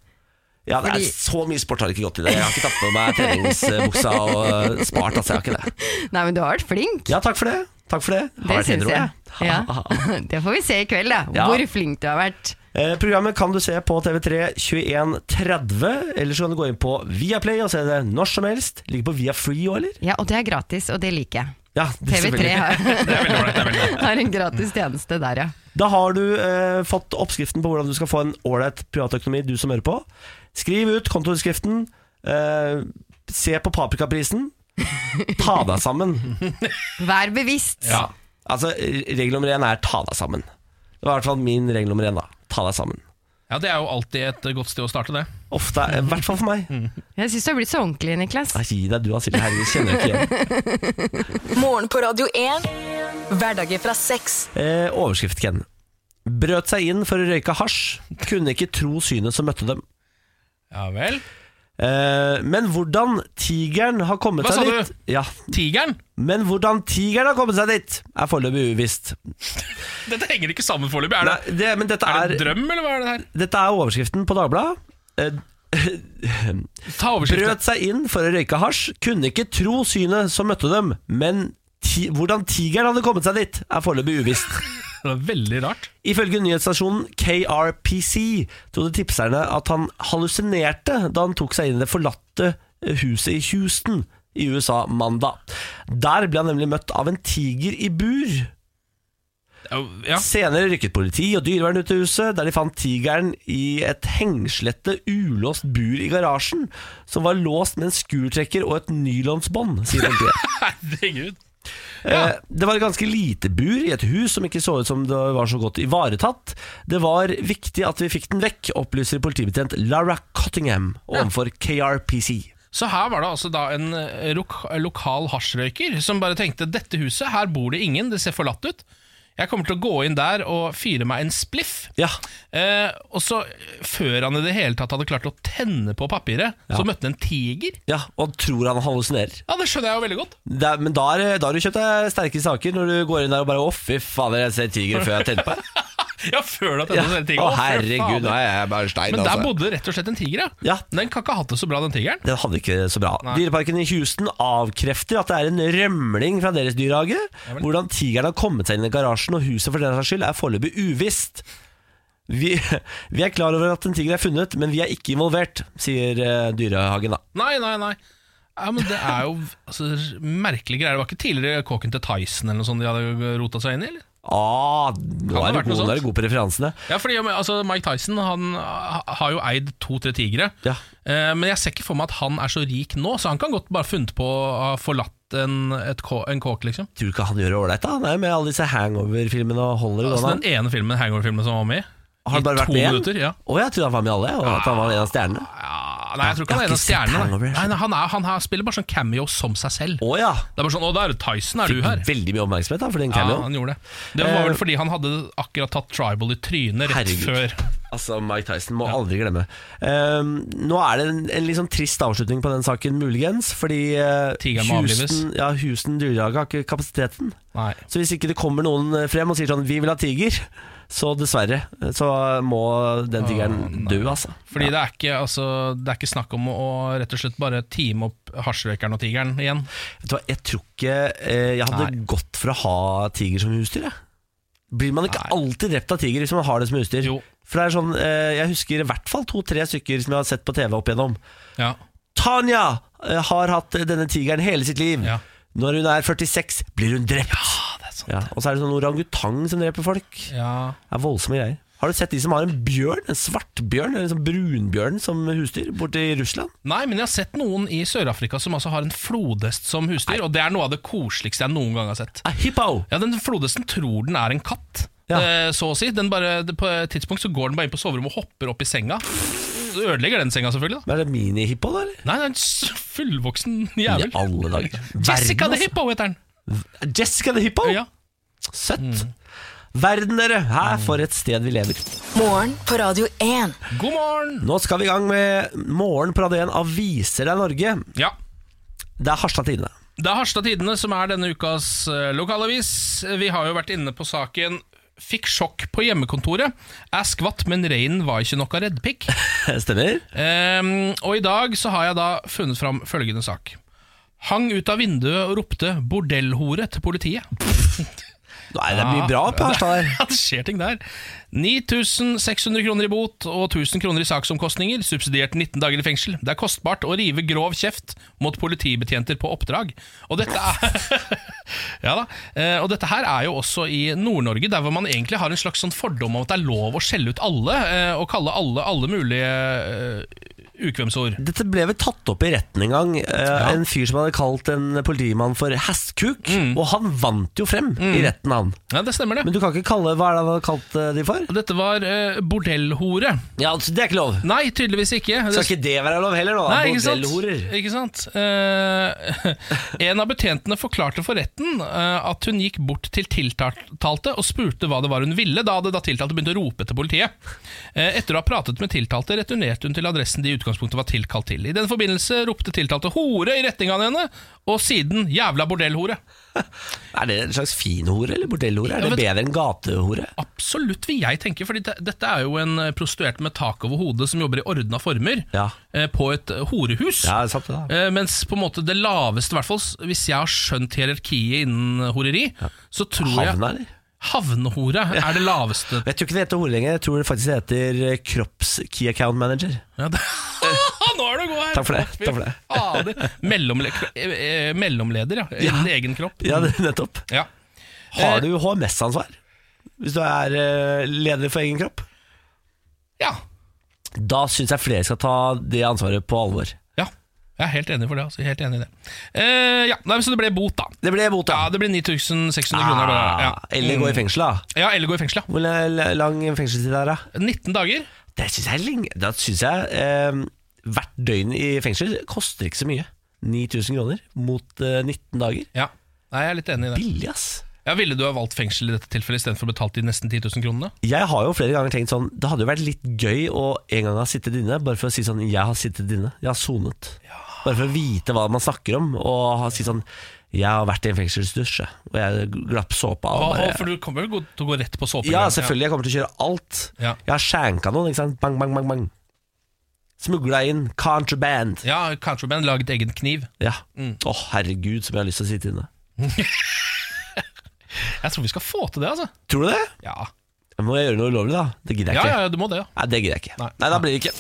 Ja, det
Fordi-
er Så mye sport har det ikke gått i det. Jeg har ikke tatt på meg treningsbuksa
(laughs)
og eh, spart. altså, jeg har ikke det
Nei, men du har vært flink.
Ja, takk for det. Takk for det.
Det
Har vært
syns
hetero,
jeg.
jeg. (laughs)
Ja. (laughs)
Ha, ha, ha.
Det får vi se i kveld, da.
Ja.
Hvor flink du har vært.
Eh, programmet kan du se på TV3 21.30, eller så kan du gå inn på Viaplay og se det når som helst. Ligger på Viafree òg, eller?
Ja, og det er gratis, og det liker jeg.
Ja, det-
TV3
selvfølgelig.
har, (laughs) har en gratis tjeneste der, ja.
Da har du eh, fått oppskriften på hvordan du skal få en ålreit privatøkonomi, du som hører på. Skriv ut kontoutskriften. Eh, se på paprikaprisen. Ta deg sammen.
Vær bevisst.
Ja.
Altså, regel nummer én er ta deg sammen. Det var i hvert fall min regel nummer én. da Ta deg sammen.
ja, det er jo alltid et eh, godt sted å starte, det.
Ofte, I hvert fall for meg.
Mm.
Jeg syns du har blitt så ordentlig, Niklas.
Nei, gi deg, du, Silje. Herregud, kjenner jeg ikke igjen.
(laughs)
Morgen på Radio 1. Hverdager fra seks.
Eh, overskrift, Ken. Brøt seg inn for å røyke hasj. Kunne ikke tro synet som møtte dem.
Ja vel.
Eh, men hvordan tigeren har kommet
Hva
seg
sa
dit
du?
Ja,
Tigeren!
Men hvordan tigeren har kommet seg dit, er foreløpig uvisst.
Dette henger ikke sammen foreløpig. Er,
Nei,
det-
det, men dette
er
er,
det en drøm, eller hva er det her?
dette er overskriften på Dagbladet. Eh,
Ta overskriften.
Brøt seg inn for å røyke hasj, kunne ikke tro synet som møtte dem, men ti hvordan tigeren hadde kommet seg dit, er foreløpig uvisst.
Det er veldig rart.
Ifølge nyhetsstasjonen KRPC trodde tipserne at han hallusinerte da han tok seg inn i det forlatte eh, huset i Houston i USA mandag. Der ble han nemlig møtt av en tiger i bur.
Ja.
Senere rykket politi og dyrevern ut til huset, der de fant tigeren i et hengslete, ulåst bur i garasjen, som var låst med en skurtrekker og et nylonsbånd, sier politiet.
Herregud.
Eh, Det var et ganske lite bur i et hus som ikke så ut som det var så godt ivaretatt. Det var viktig at vi fikk den vekk, opplyser politibetjent Lara Cottingham overfor KRPC.
Så her var det altså da en eh, lok lokal hasjrøyker som bare tenkte dette huset, her bor det ingen, det ser forlatt ut. Jeg kommer til å gå inn der og fyre meg en spliff.
Ja,
Eh, og så, før han i det hele tatt hadde klart å tenne på papiret, så møtte han en tiger.
ja, og tror han hallusinerer.
Ja, det skjønner jeg jo veldig godt.
Det er, men da har da har du kjøpt deg sterke saker, når du går inn der og bare Å, fy fader, jeg ser tigre før jeg tenner på her.
Ja, før det
Ja.
hadde tenne
Å
tiger.
herregud, nå er jeg bare stein
Men der
altså.
bodde rett og slett en tiger,
Ja.
Den kan ikke ha hatt det så bra, den tigeren.
Den hadde ikke så bra Dyreparken i Houston avkrefter at det er en rømling fra deres dyrehage Hvordan tigeren har kommet seg inn i garasjen og huset for den saks skyld er foreløpig uvisst vi, (laughs) vi er klar over at en tiger er funnet, men vi er ikke involvert, sier eh, dyrehagen da
Nei, nei, nei. Ja, men Det er jo altså, merkelige greier. Det var ikke tidligere kåken til Tyson eller noe sånt de hadde rota seg inn i? eller?
Ah, nå
ha
er,
vært
du god, nå er
noe sånt.
du god på referansene
Ja, fordi ja, men, altså, Mike Tyson han ha- har jo eid to-tre tigre.
Ja.
Eh, men jeg ser ikke for meg at han er så rik nå, så han kan godt bare funnet på å ha forlatt en, et kå, en kåk, liksom.
Tror du ikke han gjør det ålreit da? Nei, med alle disse hangover-filmene og holder i
Altså,
gående
den ene filmen, hangover-filmen som han var med i.
Har det bare vært
to
med én?
minutter, ja.
Å, jeg trodde han var med i alle, og at han var en av stjernene.
Ja, nei, jeg tror ikke han er
Jeg har
en av
ikke sett
stjernene.
Hangover, jeg
nei. Nei, nei, Han, er, han er, spiller bare sånn cameo som seg selv.
Å ja.
Det er bare sånn, Å, der, Tyson, er du
Fikk
her?
veldig mye oppmerksomhet da, for den
Ja,
cameoen.
han gjorde det. Det var
Eh,
vel fordi han hadde akkurat tatt tribal i trynet rett
Herregud.
før.
Altså, Mike Tyson må aldri glemme. Ehm, nå er det en, en litt sånn trist avslutning på den saken, muligens. Fordi eh,
Tigeren må
Houston, ja, Houston dyrehage har ikke kapasiteten.
Nei.
Så hvis ikke det kommer noen eh, frem og sier sånn 'vi vil ha tiger', så dessverre, eh, så må den tigeren dø, altså.
Fordi det, er ikke, altså, det er ikke snakk om å, å rett og slett bare time opp hasjrøykeren og tigeren igjen.
Vet du hva, jeg tror ikke eh, jeg hadde gått for å ha tiger som husdyr, jeg. Blir man ikke alltid drept av tiger hvis man har det som husdyr?
Jo.
For det er sånn, eh, Jeg husker i hvert fall to-tre stykker som jeg har sett på TV opp igjennom.
Ja.
Tanja eh, har hatt eh, denne tigeren hele sitt liv.
Ja.
Når hun er 46, blir hun drept.
Ah, det er sant.
Ja, og så er det sånn orangutang som dreper folk.
Ja.
Det er voldsomme greier. Har du sett de som har en bjørn, en svartbjørn eller en sånn brunbjørn som husdyr borte i Russland?
Nei, men jeg har sett noen i Sør-Afrika som altså har en flodhest som husdyr, og det er noe av det koseligste jeg noen gang har sett.
A hippo!
Ja, den flodhesten tror den er en katt,
Ja.
eh, så å si. Den bare, det- på et tidspunkt så går den bare inn på soverommet og hopper opp i senga. Så ødelegger den senga, selvfølgelig. da.
Men Er det mini-hippo, da? eller?
Nei, det er en s- fullvoksen
I
jævel.
alle dager.
Jessica
Verden,
the Hippo heter den.
altså. Jessica the hippo!
Ja.
Søtt. Verden, dere! Her for et sted vi lever.
Morgen på Radio 1.
God morgen!
Nå skal vi i gang med Morgen på Radio 1 Aviser deg Norge.
Ja,
Det er Harstad Tidende.
Det er Harstad Tidende som er denne ukas eh, lokalavis. Vi har jo vært inne på saken Fikk sjokk på hjemmekontoret. Er skvatt, men reinen var ikke noe (laughs) reddpikk.
(laughs) Stemmer?
Ehm, og i dag så har jeg da funnet fram følgende sak. Hang ut av vinduet og ropte 'bordellhore' til politiet.
Nei, det er mye bra på Harstad der.
Ja, (laughs) det skjer ting der. 9600 kroner i bot og 1000 kroner i saksomkostninger, subsidiert 19 dager i fengsel. Det er kostbart å rive grov kjeft mot politibetjenter på oppdrag. Og dette er (laughs) Ja da. Eh, Og dette her er jo også i Nord-Norge, der hvor man egentlig har en slags sånn fordom om at det er lov å skjelle ut alle, eh, og kalle alle alle mulige eh, ukvemsord.
Dette ble vel tatt opp i retten en gang. Eh, En fyr som hadde kalt en politimann for hestkuk. Og han vant jo frem i retten, han.
Ja, det stemmer, det.
Men du kan ikke kalle Hva er det han hadde kalt eh, de for?
Og Dette var eh, bordellhore.
Ja, altså, Det er ikke lov.
Nei, tydeligvis ikke.
Skal ikke det være lov heller, da?
Nei, ikke sant?
Bordellhorer.
Ikke sant? Eh, (laughs) en av betjentene forklarte for retten eh, at hun gikk bort til tiltalte og spurte hva det var hun ville, da hadde da tiltalte begynt å rope til politiet. Eh, etter å ha pratet med tiltalte returnerte hun til adressen de i utgangspunktet var tilkalt til. I den forbindelse ropte tiltalte 'hore' i retning av henne, og siden 'jævla bordellhore'.
Er det en slags finhore eller bordellhore? Er
Ja,
det
vet-
bedre enn gatehore?
Absolutt, vil jeg tenke, fordi det, dette er jo en eh, prostituert med tak over hodet som jobber i ordna former
Ja.
eh, på et eh, horehus.
Ja, sant det da.
Eh, Mens på en måte det laveste, i hvert fall s- hvis jeg har skjønt hierarkiet innen horeri, så tror
Havna,
jeg
eller?
Havnehore er det laveste.
(laughs) Jeg tror ikke det heter hore lenger. Jeg tror det faktisk heter eh, kropps key account manager.
Ja, det. (laughs) Nå er du god her!
Takk (laughs) for det, takk for det.
Fader. Mellomle eh, eh, mellomleder, ja. I
Ja.
din egen kropp.
Ja, det- (laughs) nettopp.
Ja. Eh,
Har du HMS-ansvar hvis du er eh, leder for egen kropp?
ja.
Da syns jeg flere skal ta det ansvaret på alvor.
Ja. Jeg er helt enig for det. Altså. Helt enig i det. Eh, ja. Nei, men så det ble bot, da.
Det ble bot,
Ja, Det ble 9600 kroner. bare,
Ah,
Ja.
Eller gå i fengsel, da.
Mm. Ja, eller gå i fengsel, ja.
Hvor l- lang fengselstid er det?
19 dager.
Det syns jeg er lenge. Da syns jeg eh, hvert døgn i fengsel koster ikke så mye. 9000 kroner mot eh, 19 dager.
Ja. Nei, jeg er litt enig i det.
Billig, ass.
Ja, Ville du ha valgt fengsel i dette tilfellet istedenfor betalt de nesten 10 000 kronene?
Jeg har jo flere ganger tenkt sånn Det hadde jo vært litt gøy å en gang ha sittet inne, bare for å si sånn Jeg har sittet inne. Jeg har sonet. Bare for å vite hva man snakker om, og ha- si sånn Jeg har vært i en fengselsdusj, jeg, og jeg glapp såpa av.
Hva,
bare-
for du kommer jo til å gå rett på såpe?
Ja, selvfølgelig. Jeg kommer til å kjøre alt.
Ja.
Jeg har skjenka noen, ikke sant. Bang, bang, bang. bang Smugla inn. Contraband.
Ja, Mm. Contraband laget egen kniv.
Ja. Å, herregud, som jeg har lyst til å sitte inne.
Jeg tror vi skal få til det, altså.
Tror du det?
Ja,
Må jeg gjøre noe ulovlig, da? Det gidder jeg
ja,
ikke.
ja, ja du må det, ja.
Nei, det gidder jeg ikke.
Nei.
Nei, da blir det ikke.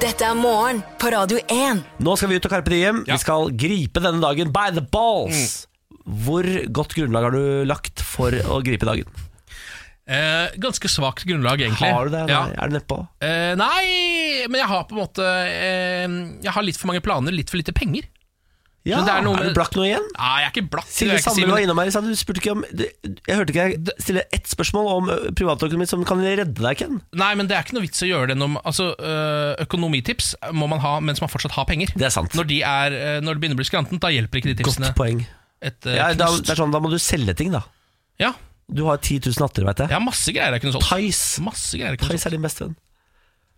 Dette er morgen på Radio 1.
Nå skal vi ut og karpe diem.
Ja.
Vi skal gripe denne dagen by the balls.
Mm.
Hvor godt grunnlag har du lagt for å gripe dagen?
Eh, ganske svakt grunnlag, egentlig.
Har du det?
Ja.
Nei, Er du nedpå?
Eh, nei, men jeg har på en måte eh, Jeg har litt for mange planer, litt for lite penger.
Ja,
Men det er noe
er
med-
du blakk nå igjen?
Nei, jeg er ikke blakk.
Silje
jeg er ikke
Sandvik
Simen.
var innom her. sa Du spurte ikke om du- Jeg hørte ikke jeg stille ett spørsmål om ø, privatøkonomi som kan redde deg, Ken.
Nei, men det er ikke noe vits å gjøre det. Når, altså, øh, økonomitips må man ha mens man fortsatt har penger.
Det er sant.
Når, de er, øh, når det begynner å bli skrantent, da hjelper ikke de tipsene.
Godt poeng.
Et, øh,
Ja, da,
knust.
det er sånn, da må du selge ting, da.
ja,
Du har 10 000 hatter, veit jeg.
jeg har masse greier jeg kunne solgt.
Thais.
Masse greier jeg kunne
Theis er din beste venn.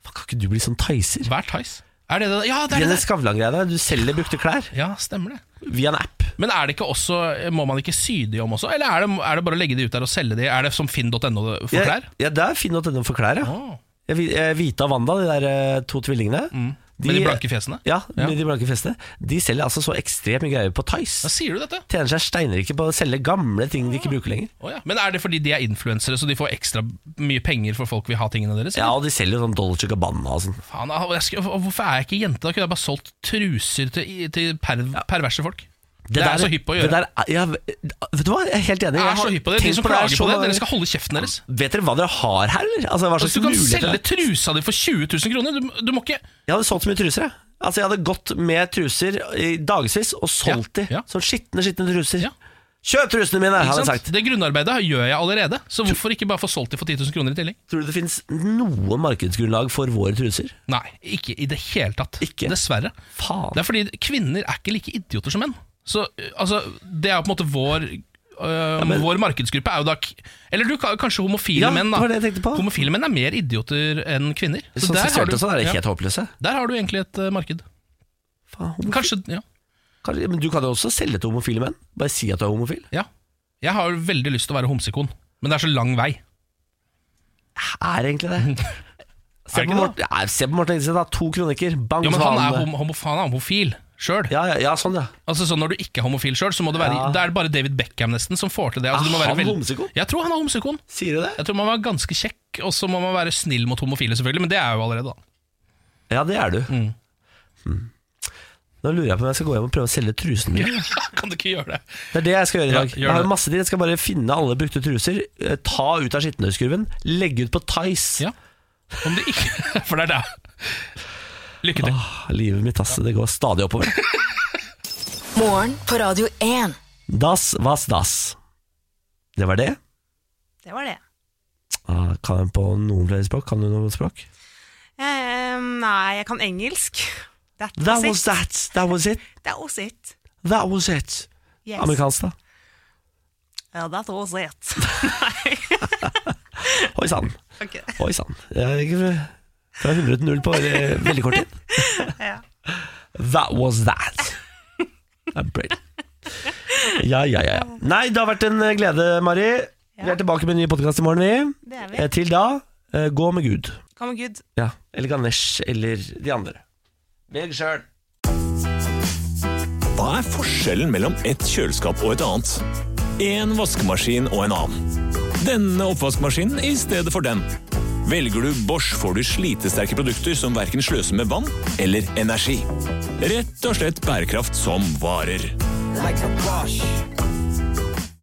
Faen, kan ikke du bli sånn Thaiser?
solgt. Hver Thais. Er det det? Ja, det er det
Jenny
der.
Skavlan-greia der. Du selger brukte klær
Ja, stemmer det.
via en app.
Men er det ikke også, må man ikke sy de om også? Eller er det, er det bare å legge de ut der og selge de? Er det som finn.no for
Ja,
klær?
ja, det er finn.no for klær, ja.
Åh.
Jeg vi- eh, Vita og Wanda, de der eh, to tvillingene.
Mm. Med de blanke fjesene?
Ja, med
Ja.
de blanke festene. De selger altså så ekstremt mye greier på
Da
Tice.
sier du dette.
Tjener seg steinrike på å selge gamle ting de ikke bruker lenger.
Å ja. Men er det fordi de er influensere, så de får ekstra mye penger for folk vil ha tingene deres?
Ja, og de selger jo sånn Dolce Gabbana og sånn.
Faen, ah, jeg skal, hvorfor er jeg ikke jente? Da kunne jeg bare solgt truser til, i- til per, perverse folk. Det, er jeg så hypp på å gjøre.
det der er- ja, vet du hva, jeg er helt enig.
jeg
Jeg
er
har
så hypp på det. De
tenkt
som
på det her
klager på det,
så-
dere skal holde kjeften deres.
Vet dere hva dere har her, eller? Altså, hva slags
Altså, du kan
muligheter
selge
det er?
trusa di for 20 000 kroner. Du, du må ikke
Jeg hadde solgt så mye truser, jeg. Altså, jeg hadde gått med truser i dagevis og solgt
Ja,
de.
ja.
Sånn skitne, skitne truser.
Ja.
Kjøp trusene mine,
ikke
hadde jeg
sant?
sagt.
Det grunnarbeidet gjør jeg allerede, så hvorfor ikke bare få solgt de for 10 000 kroner i tillegg?
Tror du det finnes noe markedsgrunnlag for våre truser?
Nei, ikke i det hele tatt.
Ikke?
Dessverre.
Faen.
Det er fordi kvinner er ikke like idioter som menn. Så øh, altså, Det er jo på en måte vår øh, Vår markedsgruppe er jo da k- Eller du, ka- kanskje homofile
Ja,
menn. da
det var det jeg tenkte på.
Homofile menn er mer idioter enn kvinner.
Sånn
der, har
seksuelt
du,
og sånn er det
ja,
helt håpløse.
der har du egentlig et øh, marked.
Faen, homofil.
Kanskje ja,
Kanskje- Men du kan jo også selge til homofile menn. Bare si at du er homofil.
ja. Jeg har jo veldig lyst til å være homsekon, men det er så lang vei.
Er egentlig
(laughs)
det. Se
Er det
på
ikke
Morten, ja, se på Morten Engseth, da. To kronikker. Bang,
Ja, men
så
Han
han-
er, homo, homo, han er homofil sjøl.
ja, ja, ja, sånn, ja.
Altså, sånn når du ikke er homofil sjøl, så må det være,
Ja.
da er det bare David Beckham nesten som får til det. Altså,
Er
du må være
han
veld-
homsekon?
Jeg tror han er homsekon.
Sier du det?
Jeg tror man må være ganske kjekk, og så må man være snill mot homofile, selvfølgelig. Men det er jeg jo allerede, da. (laughs)
Ja, det er du.
Mm.
Mm. Nå lurer jeg på om jeg skal gå hjem og prøve å selge trusene mine.
kan du ikke gjøre det?
Det er det jeg skal gjøre i
Ja,
dag.
gjør
jeg har
det.
masse tid. Jeg skal bare finne alle brukte truser, eh, ta ut av skittenhøyskurven, legge ut på Tice.
Ja. Om det ikke (laughs) For det er det. Lykke til.
Ah, livet mitt, ass. Det går stadig oppover.
Morgen på Radio 1.
Das was das. Det var det.
Det var det.
Ah, Kan jeg på noen flere språk? Kan du noe språk?
Eh, nei, jeg kan engelsk. That
That
was
was
it.
that. That was it.
That was it.
That was it.
Yes.
Amerikansk, da.
Ja, that was it.
Oi sann.
Ok.
Oi sann. Jeg gikk fra- fra 100 til 0 på eh, veldig kort tid.
(laughs) Ja.
That was that. I'm pretty. Ja, ja, ja. ja. Nei, det har vært en eh, glede, Mari. Vi er
Ja.
tilbake med en ny podkast i morgen, vi.
Det er
Eh,
vi.
Til da, eh, gå med Gud.
Come on, good.
Ja. Eller Ganesh, eller de andre. Velg sjøl.
Hva er forskjellen mellom et kjøleskap og et annet? En vaskemaskin og en annen. Denne oppvaskmaskinen i stedet for den. Velger du Bosch får du slitesterke produkter som verken sløser med vann eller energi. Rett og slett bærekraft som varer.